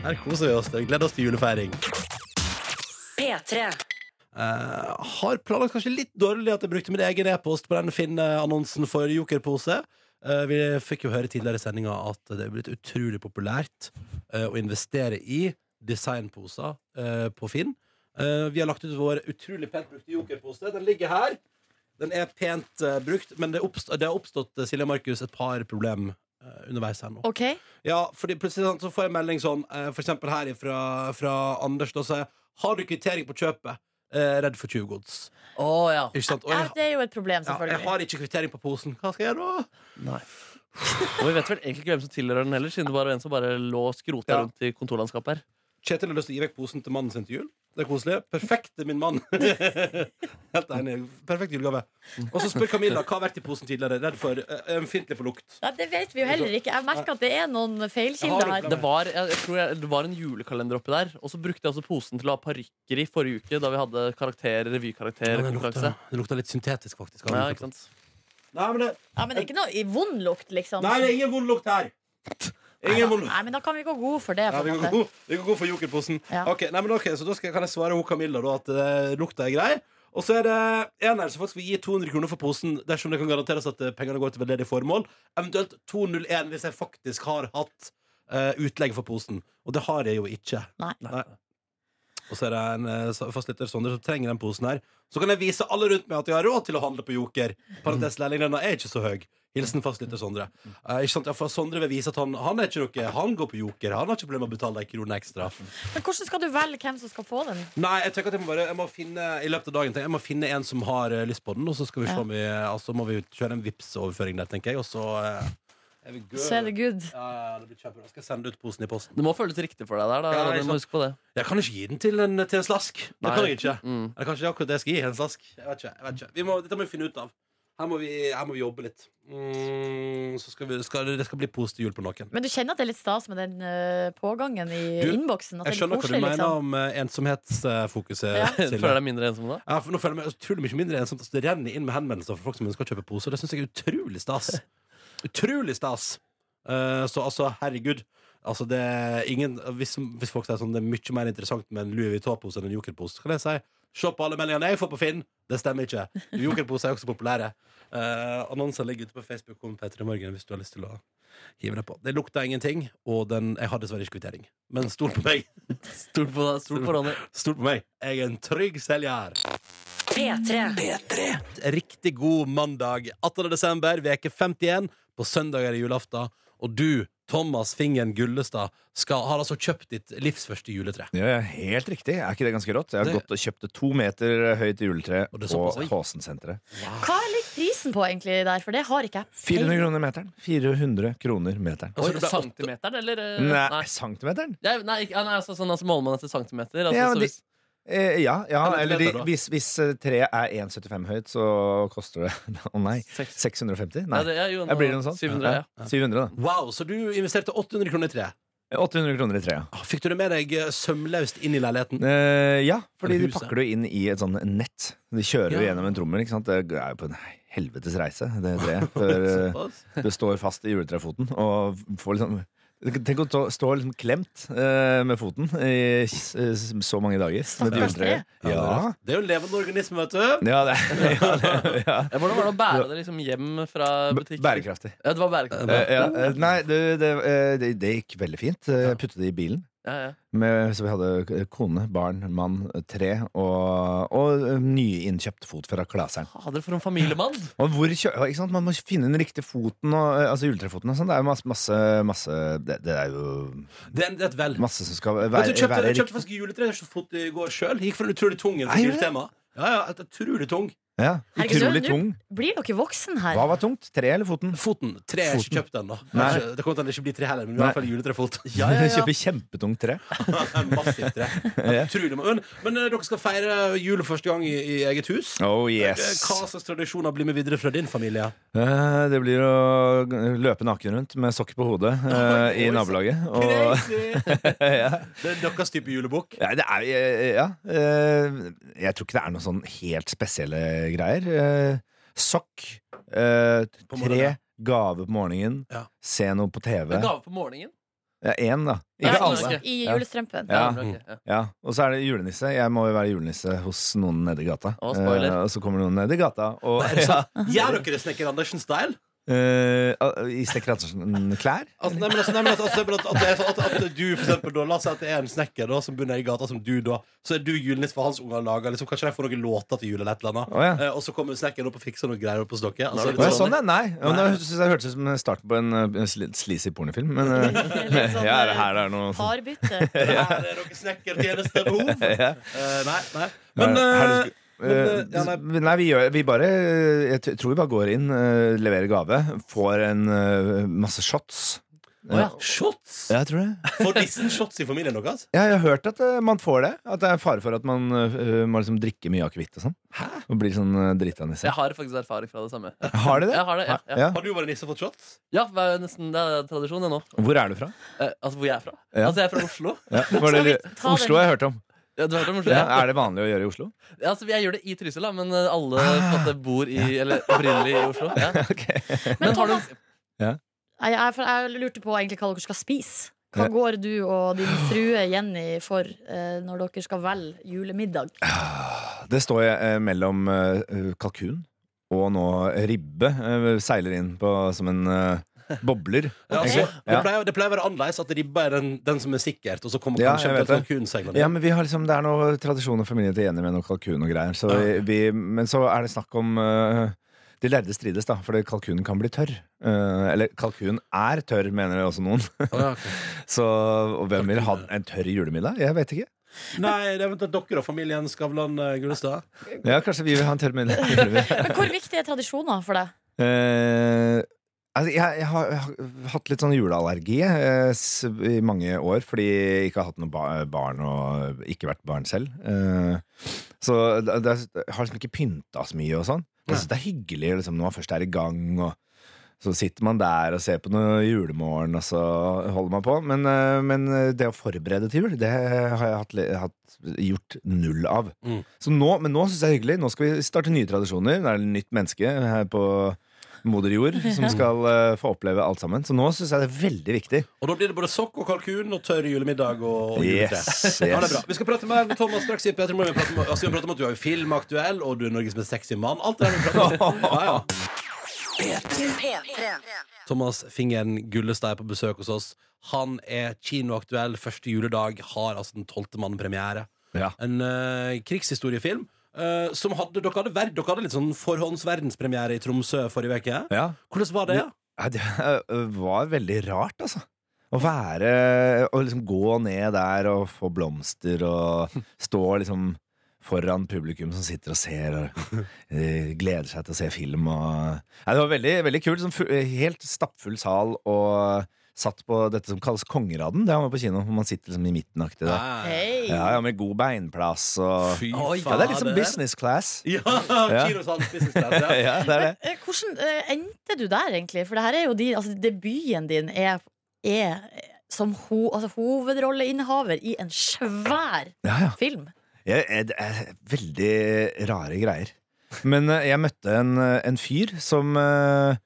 Her koser vi oss. Det Gleder oss til julefeiring.
P3.
Eh, har planlagt kanskje litt dårlig at jeg brukte min egen e-post på den Finn-annonsen for jokerpose. Eh, vi fikk jo høre tidligere i sendinga at det er blitt utrolig populært eh, å investere i designposer eh, på Finn. Eh, vi har lagt ut vår utrolig pent brukte jokerpose. Den ligger her. Den er pent eh, brukt, men det, oppst det har oppstått eh, Silje Markus, et par problem eh, underveis her nå.
Ok?
Ja, fordi plutselig sånn, så får jeg melding sånn eh, For eksempel her fra, fra Anders Da sier jeg, har du kvittering på kjøpet? Eh, Redd for tjuvgods
Å ja.
Ikke sant? Og
Ja,
jeg,
det er jo et problem,
ja, jeg
selvfølgelig.
har ikke kvittering på posen Hva skal jeg gjøre da?
Nei. Og vi vet vel egentlig ikke hvem som tilhører den heller, siden det var en som bare lå og skrota
Ja.
rundt i kontorlandskapet her.
Kjetil har lyst til å gi vekk posen til mannen sin til jul Det er koselig Perfekt til min mann Helt enig Perfekt julegave Og så spør Camilla Hva har vært i posen tidligere? Redd for eh, ømfintlig på lukt
Nei, det vet vi jo heller ikke. Jeg merker at det er noen
Jeg
feilkilder
har
her.
Det var, jeg, jeg tror jeg, det var en julekalender oppi der, og så brukte jeg også posen til å ha parykker i forrige uke, da vi hadde karakter,
Ja,
revykarakter,
det,
konkurranse.
lukta, det lukta litt syntetisk faktisk
Ja, ikke sant?
Nei, men det,
Ja, men det er ikke noe i vond lukt, liksom.
nei, det er ingen vond lukt her Ingen vond lukt
Nei, men da kan vi gå god for det.
Ja,
På
vi
en
kan
måte.
gå, vi kan gå for jokerposen.
Ja.
Ok, nei, men ok, Så da skal, kan jeg svare hun Camilla da, at eh, lukta er grei. Og så er det en her som faktisk vil gi 200 kroner for posen dersom det kan garanteres at eh, pengene går til veldedig formål. Eventuelt 201 hvis jeg faktisk har hatt eh, utlegg for posen. Og det har jeg jo ikke.
Nei.
Og så er det en uh, fastlytter Sondre som trenger den posen her. Så kan jeg vise alle rundt meg at jeg har råd til å handle på Joker.
Mm.
Parentes lærlinglønna er ikke så høy. Hilsen fastlytter Sondre. Eh, ikke sant? Ja, for Sondre vil vise at han, han er ikke noe Han går på Joker. Han har ikke problemer med å betale ei krone ekstra.
Men hvordan skal du velge hvem som skal få den?
Nei, jeg tenker at jeg må bare jeg må finne i løpet av dagen tenker jeg, jeg må finne en som har eh, lyst på den, og så skal vi se
Ja.
om vi Altså må vi kjøre en Vipps-overføring der, tenker jeg, og så eh, er vi good.
Så er det good.
Ja, ja, det blir kjempebra. Skal jeg sende ut posen i posten?
Det må føles riktig for deg der, da.
Ja,
Ronny,
ikke
du må
sant.
huske på det.
Jeg kan ikke gi den til en, til en slask. Det
Nei.
kan jeg ikke.
Mm.
Eller kanskje det er akkurat det jeg skal gi. En slask. Jeg vet ikke. Jeg vet ikke. Vi må, dette må vi finne ut av. Her må vi, her må vi jobbe litt. Mm, så skal vi, skal, det skal bli pose til jul på noen.
Men du kjenner at det er litt stas med den eh, pågangen i
Du,
innboksen? At den er
Jeg skjønner hva du
koselig,
mener
liksom.
om eh, ensomhetsfokuset.
Ja.
Silje.
Føler deg mindre ensom da?
Ja, for nå føler jeg meg utrolig mye mindre ensomt. Altså, Det renner inn med henvendelser fra folk som ønsker å kjøpe poser. Det syns jeg er utrolig stas. Utrolig stas. Eh, så altså, herregud. Altså, det er ingen, hvis, hvis folk sier sånn det er mye mer interessant med en Louis Vuitton-pose enn en Joker-pose, så kan jeg si se på alle meldingene jeg får på Finn. Det stemmer ikke. Joker-poser er også populære. Eh, Annonser ligger ute på Facebook om Petter i morgen hvis du har lyst til å hive deg på. Det lukta ingenting, og den, jeg har dessverre ikke kvittering. Men stol på meg.
Stol på deg, stol på Ronny.
Stol på meg. Jeg er en trygg selger.
P3.
Riktig god mandag 18. desember, veke 51 På søndager i julaften Og du, Thomas Fingen Gullestad skal, Har altså kjøpt ditt livs første juletre
Ja, ja, helt riktig. Er ikke det ganske rått? Jeg har
Det-
gått og kjøpt et to meter høyt juletre
Og det er
på
såpass, oi.
Tåsensenteret.
Hva ligger prisen på egentlig der? For det har ikke jeg.
400 kroner meteren. 400 kroner meteren.
Oi,
Altså, det ble
centimeteren, eller? eh,
Nei, centimeteren?
Nei, nei, ikke- ja, nei altså, sånn, altså, måler man etter centimeter? Altså,
Ja,
så
men
hvis,
Eh, ja, ja
Ja, men
eller
meter,
de,
da.
hvis, hvis eh, treet er 1,75 høyt, så koster det Å nei.
Seks.
650?
nei,
Nei.
det, ja, jo,
Jeg blir det
nå-
noe sånt?
700, ja.
700, da.
Wow, så du investerte 800 kroner i tre
800 kroner i treet.
Ah, Fikk du det med deg eh, sømløst inn i leiligheten?
Eh, ja, fordi de
huset.
pakker det jo inn i et sånn nett. De kjører jo
Ja.
gjennom en trommel. ikke sant? Det er jo på en helvetes reise, det treet. Før, eh,
Såpass.
Det står fast i juletrefoten og får liksom Tenk å stå, stå liksom klemt eh, med foten i s- s- så mange dager. Med det
Stakkars tre.
juletreet. Ja.
Det er jo en levende organisme, vet du
Ja, det, ja, det, ja.
Ja, Hvordan var det å bære det liksom hjem fra
B-
butikken?
Bærekraftig.
Ja, det var bærekraftig.
Eh, ja, eh, nei, det, det, eh, det, det gikk veldig fint. Eh, Jeg puttet det i bilen.
Ja, ja.
Med, så vi hadde kone, barn, mann, tre og, og eh, nyinnkjøpt fot fra klaseren.
Hadde dere for en familiemann?
Og hvor kjø ja, ikke sant? Man må finne den riktige foten, og, eh, altså juletrefoten og sånn. Det er jo masse, masse, masse det, det er jo
Det er det er et vel
masse som skal være,
Vet du, kjøpte,
være
kjøpte faktisk juletre i går selv Gikk for en utrolig tung en for
Nei, gjorde du det?
juletema Ja, ja, et utrolig tung
Ja,
Herregud,
Utrolig
nå-
tung.
nå Blir dere voksen her?
Hva var tungt? Tre eller foten?
Foten. Tre er ikke kjøpt ennå.
Nei.
Kanskje- Det kommer til at det ikke blir tre heller, men i
Nei.
hvert fall juletrefot.
Kjøper kjempetungt tre.
Massivt tre. Utrolig. Men, men eh, dere skal feire jul første gang i, i eget hus.
Oh
Eh,
yes.
Hva slags tradisjoner blir med videre fra din familie?
Eh, Det blir å g- løpe naken rundt med sokker på hodet eh, i nabolaget. Og, ja.
Det er deres type julebukk.
Ja, det er, eh, ja. Eh, Jeg tror ikke det er noen sånn helt spesielle greier. Eh, Sokk, eh, tre
morgenen.
gave på morgenen,
Ja.
se noe på TV.
En gave på morgenen?
Ja, én, da.
Ja,
Ikke
i-
alle.
i
Ja.
julestrømpen.
Ja.
Ja, ok, ja.
Ja. Og så er det julenisse. Jeg må jo være julenisse hos noen nedi gata.
Å, spoiler.
Eh, og så kommer noen nedi gata og
Er det sant? Gjør dere det Snekker Andersen-style?
Eh, I sånn Stekker Andersen-klær?
Altså, nei, men altså, nei, men altså, altså, men at, at, det er sånn at, at du, for eksempel, da, la oss si at det er en snekker da, som bor nede i gata, som du da, så er du julenisse for hans unger og lager liksom, Kanskje de får noen låter til jul eller et eller annet,
Å,
eh, og så kommer snekkeren opp og fikser noen greier opp hos dere.
Å,
Altså,
ja,
litt
sånn, ja. Nei. Ja, men
Nei.
Det synes jeg hørtes ut som starten på en, eh, en sli- sleazy pornofilm. Men eh,
Litt sånn,
ja, er det her det er noe
Parbytte.
Ja.
Her er noen snekkertjenestebehov.
Ja.
Eh, nei, nei.
Ja,
Men,
her
eh,
det skulle-
men
eh,
eh, ja, nei.
nei, vi, gjør, vi bare eh, Jeg t- tror vi bare går inn, eh, leverer gave, får en eh, masse shots.
Å ja. Shots?
Ja, jeg tror det.
Får nissen shots i familien deres?
Ja, jeg har hørt at eh, man får det. At det er fare for at man eh, må liksom drikke mye akevitt og sånn. Og blir sånn uh, drita nisse.
Jeg har faktisk erfaring fra det samme.
Har du det?
Jeg har, det, ja, ja.
Ja.
Har du vært nisse og fått shots?
Ja, det er jo nesten det er tradisjon det nå.
Hvor er du fra?
Eh, altså, hvor jeg er fra?
Ja.
Altså, jeg er fra Oslo.
Ja. Var det,
Skal vi
li-
ta
Oslo
den?
har jeg hørt om.
Ja, du har hørt om Oslo?
Ja,
Ja.
er det vanlig å gjøre i Oslo?
Altså, jeg gjør det i Trysil, da, men eh, alle
Ah,
på en måte, bor i, eller opprinnelig i Oslo. Ja. Men har du
Nei, Jeg, er for, jeg lurte på egentlig hva dere skal spise. Hva
Ja.
går du og din frue Jenny for eh, når dere skal velge julemiddag?
Det står jeg, eh, mellom eh, kalkun og nå ribbe. eh, seiler inn på, som en eh, bobler.
Ja, altså,
egentlig.
det, pleier, det pleier å være annerledes at ribba er den, den som er sikkert, og så kommer
Ja,
kanskje
jeg vet
eventuelt
det.
kalkunen seilende.
Ja, men vi har liksom, Det er noe tradisjon og familie til Jenny med noe kalkun og greier. Så vi, vi, men så er det snakk om eh, De lærde strides, da, fordi kalkunen kan bli tørr. Eh, eller kalkunen er tørr, mener også noen. så og hvem vil ha en tørr julemiddag? Jeg vet ikke.
Nei, det er eventuelt dere og familien Skavlan eh, Gullestad.
Ja, Kanskje vi vil ha en tørr middag. julemiddag.
Men hvor viktig er tradisjoner for deg?
Eh, altså, jeg, jeg, har, jeg har hatt litt sånn juleallergi eh, s- i mange år fordi jeg ikke har hatt noen ba barn og ikke vært barn selv. Eh, så det, det, jeg har liksom ikke pynta så mye og sånn. Men jeg synes det er hyggelig liksom, når man først er i gang. og så sitter man der og ser på noe julemorgen, og så holder man på. Men, eh, men det å forberede til jul, det har jeg hatt, li- hatt, gjort null av.
Mm.
Så nå, men nå syns jeg det er hyggelig. Nå skal vi starte nye tradisjoner. Det er et nytt menneske her på moder jord som
Ja.
skal eh, få oppleve alt sammen. Så nå syns jeg det er veldig viktig.
Og da blir det både sokk og kalkun og tørr julemiddag og, og juletre.
Yes,
Ja, det
yes.
er bra. Vi skal prate mer med Thomas straks. i Peter Morgen. Vi prater om- altså, vi prater om at du er jo filmaktuell, og du er Norges mest sexy mann. Alt det der vi prater om. Ja, ja.
P3.
Thomas Fingeren Gullestad er på besøk hos oss. Han er kinoaktuell første juledag, har altså den tolvte mann premiere. En eh, krigshistoriefilm. eh, som hadde, dere, hadde verd, dere hadde litt sånn forhåndsverdenspremiere i Tromsø forrige uke. Hvordan var det?
Ja, det eh, var veldig rart, altså. Å være Å liksom gå ned der og få blomster og stå liksom foran publikum som sitter og ser og eh, gleder seg til å se film og Nei, det var veldig, veldig kult. Sånn fu- helt stappfull sal og satt på dette som kalles Kongeradden. Det har man på kino, hvor man sitter liksom i midten aktig. da.
Hei.
Ja, ja, med god beinplass og
Ah, Fy
Ja, det er litt
fader.
som business class.
Ja,
Ja.
kinosal, business class, ja.
ja, det er det.
Eh, Hvordan eh, endte du der, egentlig? For det her er jo din, altså, debuten din er, er som ho, altså, hovedrolleinnehaver i en svær film.
Jeg, jeg, det er veldig rare greier. Men eh, jeg møtte en, eh, en fyr som, eh,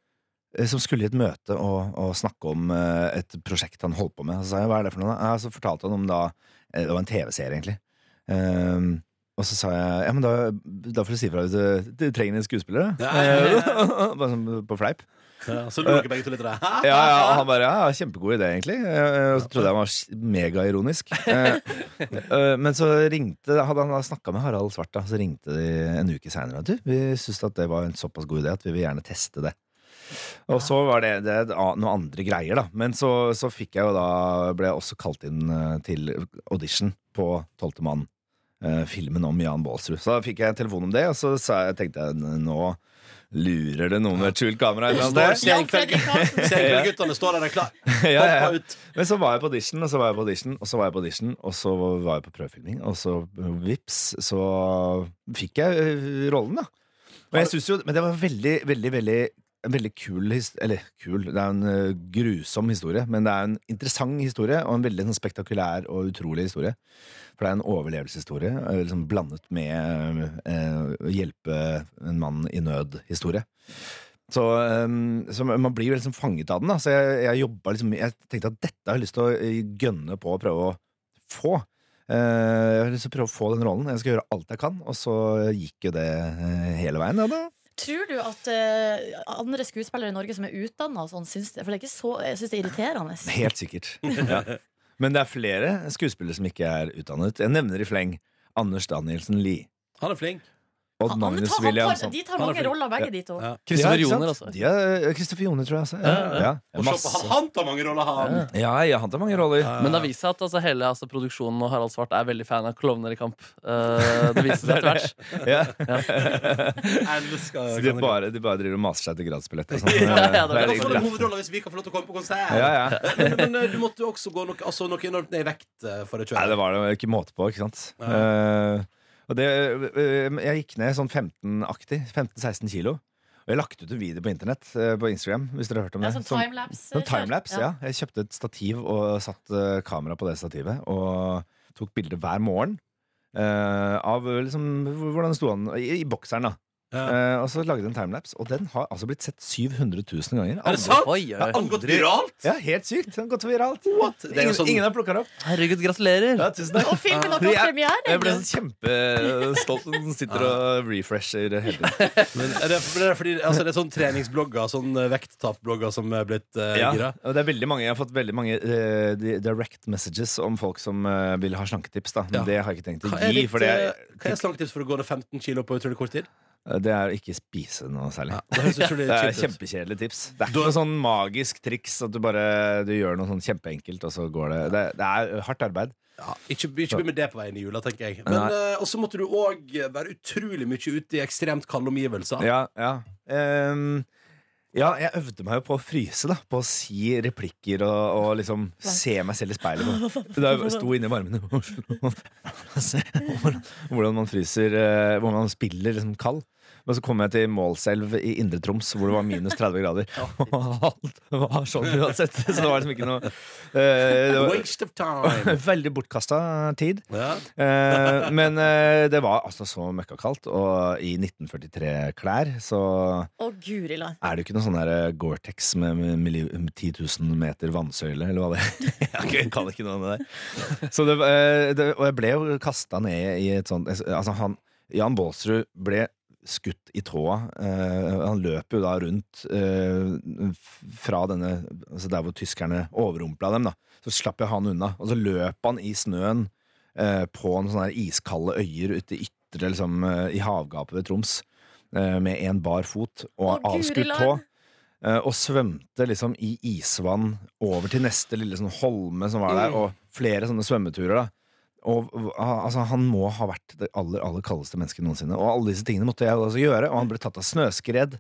som skulle i et møte og, og snakke om eh, et prosjekt han holdt på med. Så sa jeg hva er det for noe? da?» Ja, Så fortalte han om da eh, Det var en TV-serie, egentlig. Ehm, og så sa jeg ja, men da, da får du si ifra hvis du, du trenger en skuespiller. da.»
Ja, ja,
Bare sånn på fleip.
Ja, så lo dere begge to litt. der.
Ja, ja, og han bare ja, ja, kjempegod idé, egentlig. Eh, Og så trodde jeg han var s- megaironisk. Eh, eh, Men så ringte Hadde han snakka med Harald Svart, da, så ringte de en uke seinere. Du, vi syns at det var en såpass god idé at vi vil gjerne teste det. Og så var det, det er a- noen andre greier, da. Men så, så fikk jeg jo da Ble jeg også kalt inn eh, til audition på Tolvte mann eh, filmen om Jan Baalsrud. Så da fikk jeg telefon om det, og så sa jeg, tenkte jeg "N- nå lurer det noe med et skjult kamera et eller annet sted.
Senkveldguttene står der og er klar.
Ja, ja, ja. Men så var jeg på audition, og så var jeg på audition, og så var jeg på audition, og så var jeg på prøvefilming, og så vips, så fikk jeg ø, rollen, da. Og jeg synes jo, men det var veldig, veldig, veldig en veldig kul historie, eller kul, det er en ø, grusom historie, men det er en interessant historie, og en veldig sånn, spektakulær og utrolig historie. For det er en overlevelseshistorie, ø, liksom blandet med ø, ø, å hjelpe en mann i nød-historie. Så, um, så man blir jo liksom fanget av den. Da. Så jeg, jeg jobba liksom Jeg tenkte at dette har jeg lyst til å eh, gønne på å prøve å få. Eh, jeg har lyst til å prøve å få den rollen. Jeg skal gjøre alt jeg kan. Og så gikk jo det eh, hele veien. Ja, da.
Tror du at eh, andre skuespillere i Norge som er utdanna og sånn, syns det, for det er ikke så, jeg syns det er irriterende?
Helt sikkert. Ja. Men det er flere skuespillere som ikke er utdannet. Jeg nevner i fleng Anders Danielsen Lie.
Han er flink.
Odd
Han-
Magnus
han tar-
Williamson.
de tar mange
Han er flink.
roller, begge
Ja.
de to. Ja.
Christopher
ikke sant?
Joner, altså.
De er- Christopher Joner, tror jeg. Altså. Ja,
Ja, ja.
ja.
Og se på han,
han tar mange roller, han.
Ja, ja, han tar mange roller.
Men det har vist seg at altså, hele altså, produksjonen og Harald Svart er veldig fan av Klovner i kamp. Eh, det viser seg etter hvert.
Ja.
Elsker
Så de bare, de bare driver og maser seg til gradsbillett og sånn.
Ja, ja, det
Det er
er
egentlig
en
derfor.
hovedrolle hvis vi kan få lov til å komme på konsert.
Ja, ja.
Men, men, men, du måtte jo også gå noe, altså, noe enormt ned i vekt eh, for å kjøre.
Nei, det var det jo ikke måte på, ikke sant? Eh, og det, eh, jeg gikk ned sånn 15-aktig, 15-16 kilo. Og jeg lagt ut en video på internett, eh, på Instagram, hvis dere har hørt om
Ja,
det.
sånn timelapse-
sånn timelapse, ja. Jeg kjøpte et stativ og satt eh, kamera på det stativet, og tok bilder hver morgen. eh, av liksom hvordan det sto an i, i bokseren, da. Eh, og så lagde jeg en timelapse, og den har altså blitt sett 700 000 ganger.
Er det sant?
Oi, oi, oi.
Jeg
Har
har
den gått viralt?
Ja, helt sykt. Den har gått viralt.
Det er jo
Ingen,
sånn-
ingen har plukka den opp.
Herregud, gratulerer.
Ja, tusen takk.
Og filmen har
Jeg-
fått premiere!
Jeg ble sånn kjempestolt når den sitter og refresher hele tiden.
Men er det, er det, fordi, altså, det er sånn treningsblogger, sånn eh, vekttapblogger som er blitt uh,
Ja,
gira?
og det er veldig mange, jeg har fått veldig mange eh, di- direct messages om folk som eh, vil ha slanketips. Da. Men
Ja.
det har jeg ikke tenkt å
Hva
gi.
er, ditt,
for det er,
eh, hva er slanketips for å gå ned 15 kilo på utrolig kort tid?
det er å ikke spise noe særlig.
Det høres utrolig
Det er
kjipt ut.
kjempekjedelig tips. Det er ikke noe sånn magisk triks at du bare du gjør noe sånn kjempeenkelt, og så går det Det, det er hardt arbeid.
Ja, ikke ikke begynn med det på veien i jula, tenker jeg. Men, eh, og så måtte du òg være utrolig mye ute i ekstremt kalde omgivelser.
Ja, ja. Ehm, ja, jeg øvde meg jo på å fryse, da. På å si replikker og, og liksom se meg selv i speilet. Da jeg sto inne i varmen og se hvordan- hvordan man fryser eh, Hvordan man spiller liksom kald. Men så kom jeg til Målselv i Indre Troms, hvor det var minus 30 grader. Og alt var sånn uansett. Så det var liksom ikke noe eh, det var
Waste of time!
Veldig bortkasta tid.
Ja.
Eh, men eh, det var altså så møkkakaldt, og i 1943-klær så
Å, guri land.
er det jo ikke noe sånn der eh, Gore-Tex med, med, milli- 10 000 meter vannsøyle, eller hva det er. Jeg kan ikke noe om det der. Så det, var- eh, det, og jeg ble jo kasta ned i et sånt Altså, han Jan Baalsrud ble skutt i tåa. Eh, han løp jo da rundt eh, f- fra denne altså Der hvor tyskerne overrumpla dem, da. Så slapp jeg han unna. Og så løp han i snøen eh, på noen sånne her iskalde øyer ute i ytre, liksom, eh, i havgapet ved Troms. eh, med en bar fot og
Å, Guri
avskutt
land.
tå. eh, og svømte liksom i isvann over til neste lille sånn holme som var
Mm.
der, og flere sånne svømmeturer. da og og, altså, Han må ha vært det aller aller kaldeste mennesket noensinne. Og alle disse tingene måtte jeg altså gjøre, og han ble tatt av snøskred.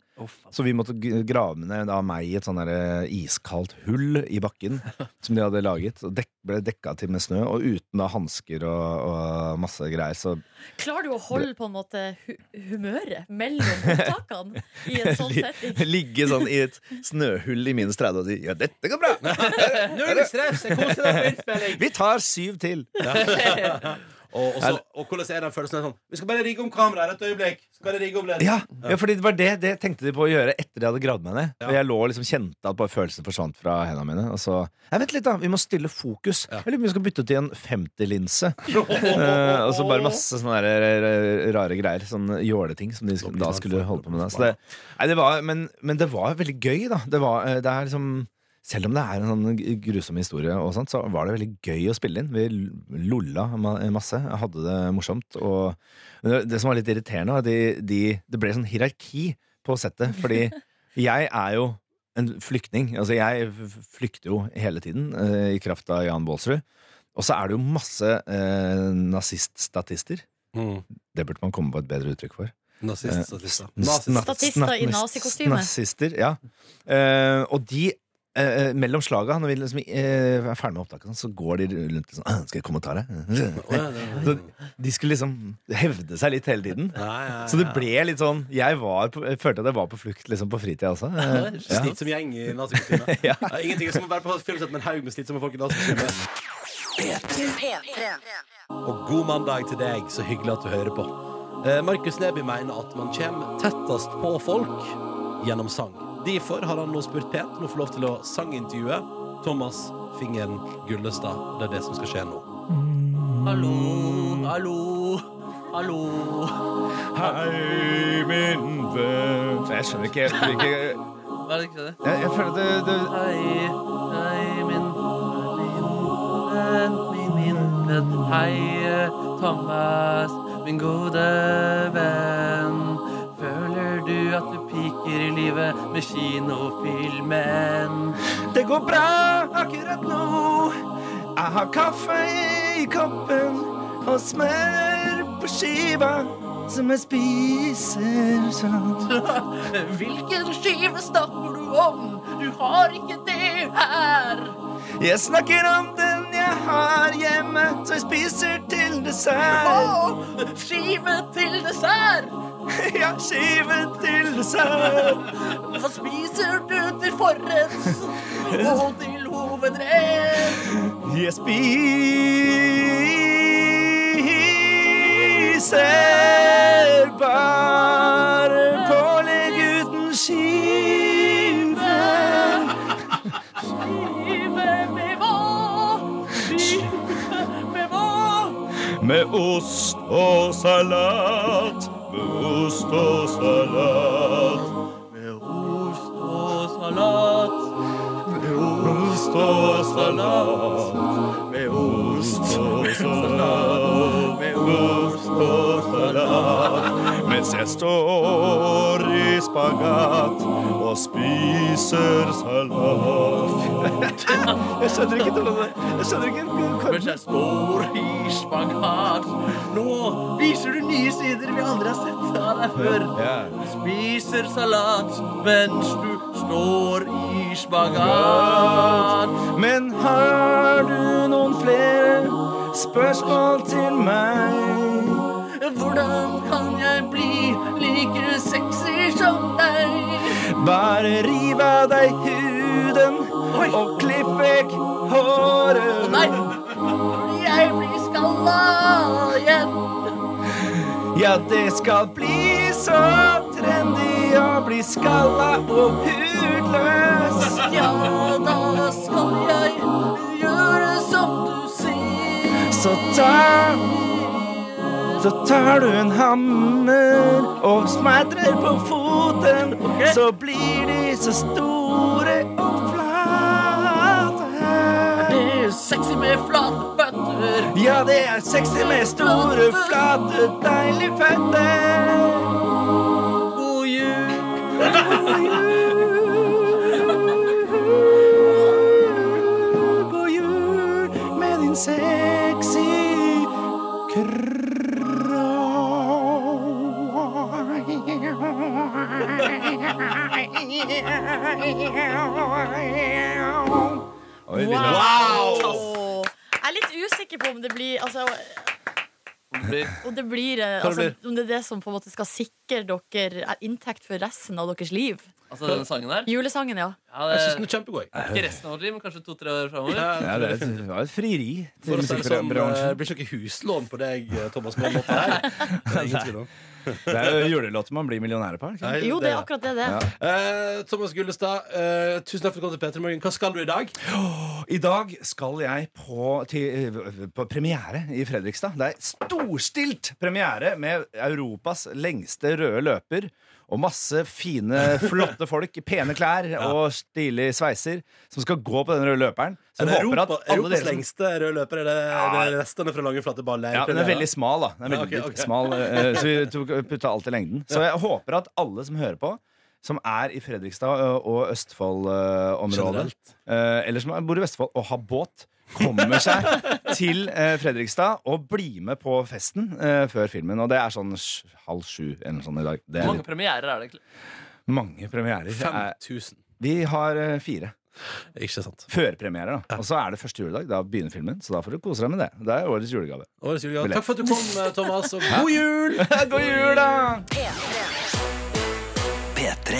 Så vi måtte g- grave ned da, meg i et sånn der iskaldt hull i bakken som de hadde laget. Og dek ble dekka til med snø, og uten da hansker og, og masse greier. Så
Klarer du å holde på en måte hu humøret mellom opptakene i en sånn
li-
setting?
ligge sånn i et snøhull i minus 30 og si 'ja, dette går bra'.
Null stress! Jeg koser deg på innspilling!
Vi tar syv til.
Og, og, så, og hvordan er den følelsen av sånn Vi skal bare rigge om kameraet et øyeblikk. Skal bare rigge om det.
Ja, ja fordi det var det, det tenkte de på å gjøre etter de hadde gravd meg ned. Og jeg lå og liksom kjente at bare følelsen forsvant fra hendene mine. Og så Nei, vent litt, da. Vi må stille fokus. Jeg lurer på om vi skal bytte til en 50-linse. Eh, og så bare masse sånne der, eh, rare greier. Sånn jåleting som de sk- da skulle holde på med. Da. Så det, nei, det var, men, men det var veldig gøy, da. Det, var, eh, det er liksom selv om det er en sånn grusom historie, og sånt, så var det veldig gøy å spille inn. Vi l- lolla ma- masse, hadde det morsomt. Og men det, det som var litt irriterende, var at de, de, det ble sånn hierarki på settet. Fordi jeg er jo en flyktning. Altså, jeg f- flykter jo hele tiden eh, i kraft av Jan Baalsrud. Og så er det jo masse eh, naziststatister Det burde man komme på et bedre uttrykk for.
Nazist,
Eh,
statister.
sna-
Nazist.
sna-
Statister
sna-
i nazikostyme.
Nazister, ja. Eh, og de eh, mellom slaga, når vi liksom, eh, er ferdig med opptaket, sånn, så går de rundt liksom «Ah, Skal jeg komme og ta deg? Så de skulle liksom hevde seg litt hele tiden.
ja,
Så det
ja.
ble litt sånn Jeg, var på, jeg følte at jeg var på flukt liksom, på fritida også. Eh, ja.
Slitsom gjeng i nazikostyme. ja. Ingenting er som å være på filmsett med en haug med slitsomme folk i nazikostyme.
P3.
Og god mandag til deg, så hyggelig at du hører på. Eh, Markus Neby mener at man kommer tettest på folk gjennom sang. Derfor har han nå spurt pent om å få lov til å sangintervjue Thomas Fingeren Gullestad. Det er det som skal skje nå.
Hallo, hallo, hallo.
Hei, min venn Jeg skjønner ikke helt hvilke
Hva er det ikke det?
jeg, jeg føler at det, det
Hei, hei, min venn, min, min venn. Hei, Thomas, min gode venn. Føler du at du piker i livet med kinofilmen?
Det går bra akkurat nå. Jeg har kaffe i koppen og smør på skiva som jeg spiser sånn.
Hvilken skive snakker du om? Du har ikke det her.
Jeg snakker om den jeg har hjemme, så jeg spiser til dessert.
Å, skive til dessert.
Ja, skive til dessert.
Hva spiser du til forrett og til hovedrett?
Jeg spiser bare pålegg uten skive.
Skive med hva? Skive med hva?
Med ost og salat, med ost og salat.
Ost og salat.
Med ost og salat, med ost og salat, med ost og salat. Mens jeg står i spagat og spiser salat. Jeg skjønner ikke til det. Jeg skjønner ikke
Mens jeg står i spagat. Nå viser du nye sider vi aldri har sett av deg før. Du spiser salat mens du står i spagat.
Men har du noen flere spørsmål til meg?
Hvordan kan jeg bli like sexy som deg?
Bare riv av deg huden og klipp vekk håret.
Jeg blir skalla igjen.
Ja, det skal bli så trendy å bli skalla og hudløs.
Ja, da skal jeg gjøre som du sier.
Så ta Så tar du en hammer og smadrer på foten. Så blir de så store og flate.
Det er sexy med flate føtter.
Ja, det er sexy med store, flate, deilige føtter.
God jul.
God jul med din sexy kropp.
Oi, Lina.
Wow! Jeg er litt usikker på om det blir altså, om, det blir, eh,
Hva
altså,
det
om det er det som på en måte skal sikre dere eh, inntekt for resten av deres liv.
Altså denne sangen her?
Julesangen, ja.
Ja, det- Jeg synes den
er kjempegod.
Ikke resten av vårt liv, men kanskje to-tre år framover.
Eh, Ja, det er- det var et frieri til
For å si det sånn, eh,
musikkbransjen.
blir ikke huslån på deg, eh, Thomas, med den låta her. Det er ingen tvil om.
Det er jo julelåter man blir millionærer på. ikke sant?
Nei,
Jo, det er akkurat det det er.
Eh, Thomas Gullestad, eh, tusen takk for at du kom til Peter Morgen. Hva skal du i dag?
I dag skal jeg på, til, eh, på premiere i Fredrikstad. Det er storstilt premiere med Europas lengste røde løper. Og masse fine, flotte folk i pene klær og stilige sveiser som skal gå på den røde løperen. Så
Er det
jeg håper
Europa,
at alle
Europas
dere som
lengste røde løper? Er det, det er restene fra Lange Flate Baller?
Ja, men den er veldig smal, da. Den er
Ja,
veldig
ok, ok.
smal, eh, Så vi tok, putta alt i lengden. Så jeg håper at alle som hører på, som er i Fredrikstad og- og Østfold-området, eh,
Generelt.
eller som bor i Vestfold og har båt kommer seg til eh, Fredrikstad og blir med på festen eh, før filmen. Og det er sånn sj- halv sju eller noe sånt i dag. Det
Hvor
er
mange
litt,
premierer er det egentlig?
mange premierer. Eh,
5000.
Vi har eh, fire.
Ikke sant
Førpremierer, da. Og så er det første juledag. Da begynner filmen, så da får du kose deg med det. Det er årets julegave.
Årets julegave.
Vil jeg-
Takk for at du kom, eh, Thomas, og god jul!
god jul, da!
P3.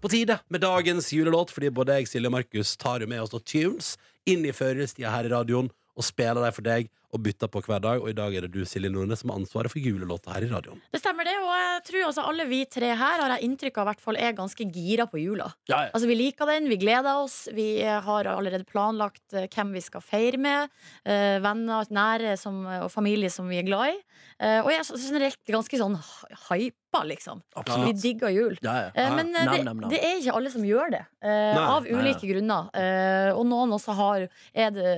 På tide med dagens julelåt, fordi både jeg, Silje og Markus tar jo med oss da tunes inn i førerstida her i radioen og spiller dem for deg og bytter på hver dag. Og i dag er det du, Silje Nordnes, som har ansvaret for julelåta her i radioen.
Det stemmer det, og jeg tror altså alle vi tre her har jeg inntrykk av i hvert fall er ganske gira på jula.
Ja, ja.
Altså Vi liker den, vi gleder oss, vi eh, har allerede planlagt eh, hvem vi skal feire med. eh, venner, nære som, eh, og familie som vi er glad i. Eh, og jeg er så- generelt ganske sånn hy- hypa, liksom.
Absolutt.
Vi digger jul.
Ja, ja.
Eh,
Ah,
men eh,
Ah, Nam,
det,
nam, nam.
det er ikke alle som gjør det, eh,
Nei,
av
nei,
ulike grunner. Eh, og noen også har, er, det,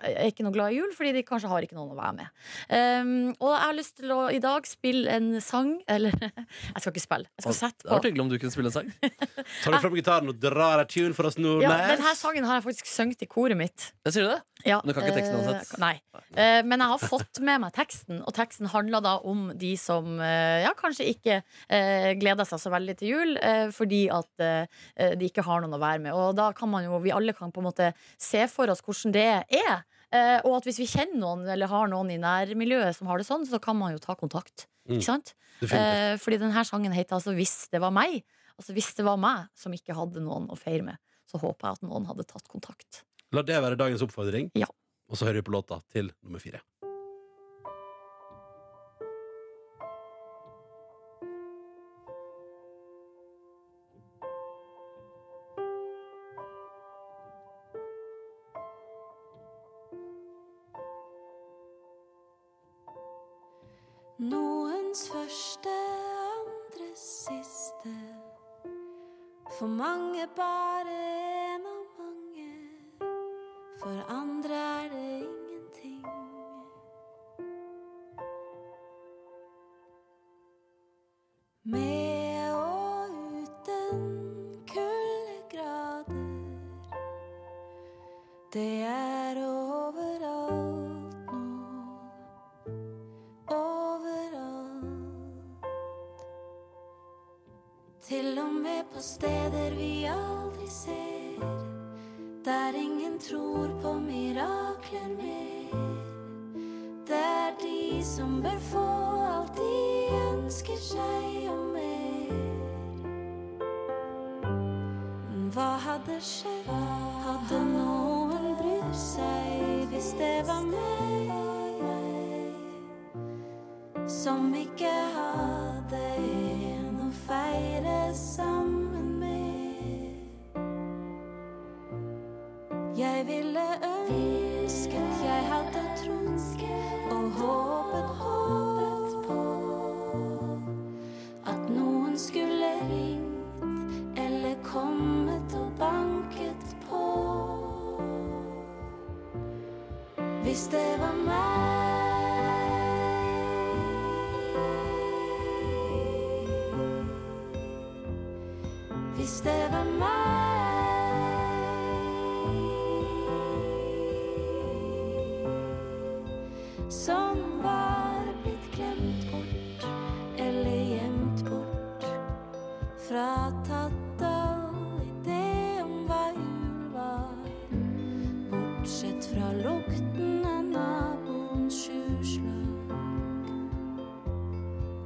er ikke noe glad i jul fordi de kanskje har ikke noen å være med. Um, og jeg har lyst til å i dag spille en sang Eller, jeg skal ikke spille. Jeg skal sette
Det hadde vært
på.
hyggelig om du kunne spille en sang.
Tar du fram gitaren og drar ei tune for oss,
Ah. Ja,
Nordnes?
denne sangen har jeg faktisk sunget i koret mitt.
Jeg sier du det?
Ja,
Men du kan ikke teksten
eh,
uansett.
Nei. Eh, men jeg har fått med meg teksten, og teksten handler da om de som eh, ja, kanskje ikke eh, gleder seg så veldig til jul eh, fordi at eh, de ikke har noen å være med. Og da kan man jo, vi alle kan på en måte se for oss hvordan det er. Eh, og at hvis vi kjenner noen eller har noen i nærmiljøet som har det sånn, så kan man jo ta kontakt.
Mm.
Ikke sant?
Definitivt.
Eh, fordi denne sangen heter altså 'Hvis det var meg'. Altså hvis det var meg som ikke hadde noen å feire med, så håper jeg at noen hadde tatt kontakt.
La det være dagens oppfordring.
Ja.
Og så hører vi på låta til nummer fire.
Noens første, andres siste. For mange bare en av mange. For andre er det ingenting. Med og uten kuldegrader. Det er overalt nå. Overalt. Til og med på steder vi aldri ser. Der ingen tror på mirakler mer. Det er de som bør få alt de ønsker seg og mer. Men hva hadde skjedd? Hadde noen brydd seg hvis det var meg? Som ikke hadde en å feire sammen med. Jeg ville ønsket jeg hadde trodd og håpet, håpet på at noen skulle ringt eller kommet og banket på. Hvis det var meg Hvis det var meg Som var blitt glemt bort eller gjemt bort Fratatt all idé om hva jul var Bortsett fra lukten av naboens sjuslag.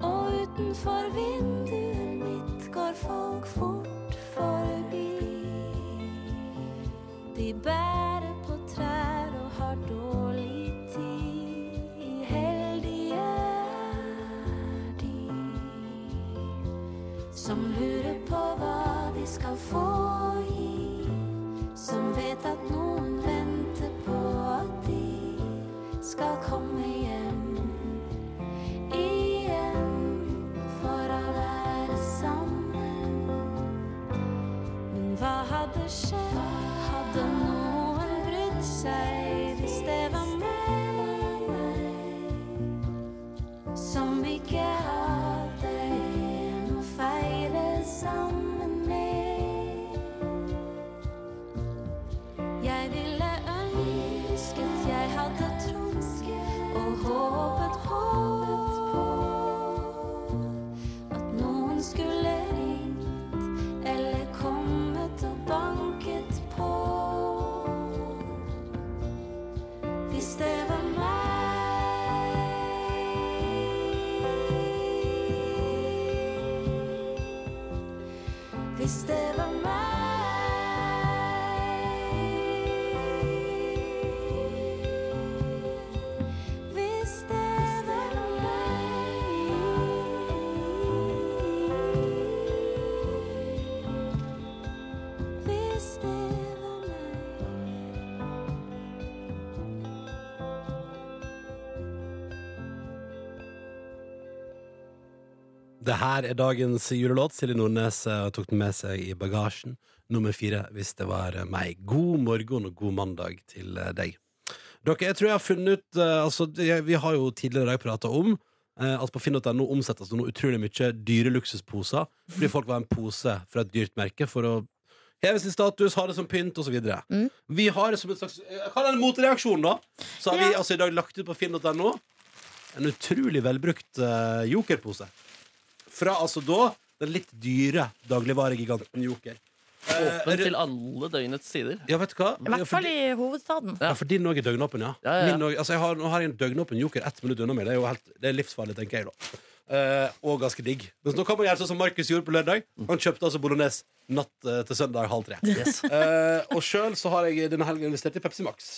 Og utenfor vinduet mitt går folk fort forbi. De bærer på trær og har dårlig tid. Heldige er de som lurer på hva de skal få i. Som vet at noen venter på at de skal komme hjem igjen. For å være sammen. Men hva hadde skjedd? Hadde noen brydd seg hvis det var meg? Som ikke hadde en å feire sammen med. Jeg ville ønske jeg hadde trodd og håpet, håpet på at noen skulle ringt eller kommet og banket på. Hvis det var meg Hvis det var meg Hvis det var meg Hvis det var
Det her er dagens julelåt. Silje Nordnes eh, tok den med seg i bagasjen. Nummer fire, hvis det var eh, meg. God morgen og god mandag til eh, deg. Dere, jeg tror jeg har funnet ut eh, altså, jeg, Vi har jo tidligere i dag prata om eh, at på finn.no omsettes det nå utrolig mye dyre luksusposer fordi folk var en pose fra et dyrt merke for å heve sin status, ha det som pynt osv. videre Vi har som en slags eh, Hva er en motreaksjon, da? Så har vi altså i dag lagt ut på finn.no en utrolig velbrukt eh, jokerpose. Fra altså da den litt dyre dagligvaregiganten Joker.
Åpen til alle døgnets sider.
Ja, vet du hva?
I hvert fall i hovedstaden.
Ja, for din òg er døgnåpen, ja.
ja.
Min også- altså, jeg har, nå har jeg en døgnåpen joker ett minutt unna meg. Det er jo helt, det er livsfarlig, tenker jeg, da. Eh, og ganske digg. Men så nå kan man gjøre sånn som Markus gjorde på lørdag. Han kjøpte altså bolognese natt eh, til søndag halv tre.
Yes.
Eh, og sjøl så har jeg denne helgen investert i Pepsi Max.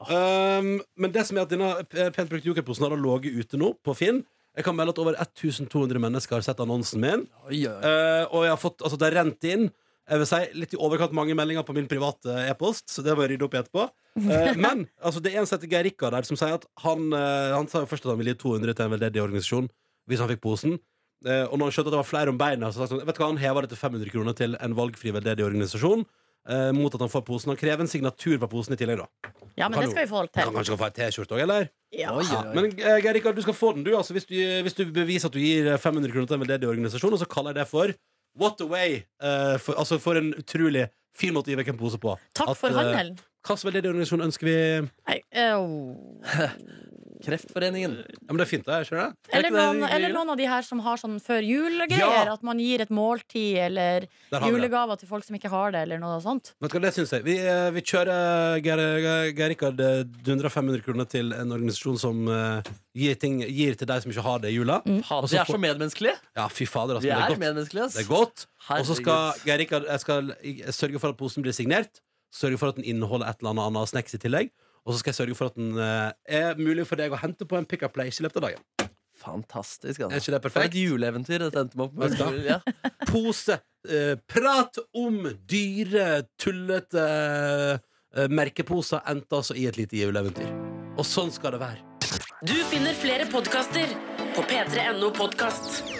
Um, men det som er at denne p- pent brukte jokerposen har da ligget ute nå, på Finn. Jeg kan melde at over 1200 mennesker har sett annonsen min. Eh, og jeg har fått, altså det har rent inn jeg vil si, litt i overkant mange meldinger på min private e-post, så det må jeg rydde opp i etterpå. Eh, men altså, det er en som heter Geir Rikard der, som sier at han, eh, han sa jo først at han ville gi 200 til en veldedig organisasjon hvis han fikk posen. Eh, og når han skjønte at det var flere om beina, så sa han sånn, vet du hva, han hever det til 500 kroner til en valgfri veldedig organisasjon. eh, mot at han får posen. Han krever en signatur på posen i tillegg, da.
Ja, men
Kan
det
jo-
skal vi få holde
Han
til.
kanskje kan få ei T-skjorte òg, eller?
Ja.
Men eh, Geir Rikard, du skal få den, du. Altså, hvis, du hvis du beviser at du gir 500 kroner til en veldedig organisasjon, og så kaller jeg det for What Away. eh, for, altså for en utrolig fin måte å gi vekk en pose på.
Takk
At,
for
eh,
handelen.
Hva slags veldedig organisasjon ønsker vi?
Nei, au.
Kreftforeningen.
Ja, men det er fint, det. Skjønner jeg.
Eller noen, eller noen av de her som har sånn før jul-greier.
Ja.
At man gir et måltid eller
Der har vi det.
julegaver til folk som ikke har det, eller noe sånt.
Vet du hva, det syns jeg. Vi, eh, vi kjører Geir, Geir- Geir Rikard eh, dundrer 500 kroner til en organisasjon som eh, gir, ting, gir til deg som ikke har det i jula.
Mm.
Ha,
Og
de
så
er så
får-
medmenneskelige.
Ja, fy fader, altså.
De
men det
er
godt.
medmenneskelige. ass.
Det er godt. Og
Herregud.
så skal Geir Rikard jeg skal sørge for at posen blir signert. Sørge for at den inneholder et eller annet annet snacks i tillegg. Og så skal jeg sørge for at den eh, er mulig for deg å hente på en pick up place i løpet av dagen.
Fantastisk.
Er ikke det
For
perfekt?
et juleeventyr dette endte meg opp
Vet
med.
du hva?
Ja.
Pose. eh, prat om dyre, tullete eh, merkeposer endte altså i et lite juleeventyr. Og sånn skal det være.
Du finner flere podkaster på p3.no podkast.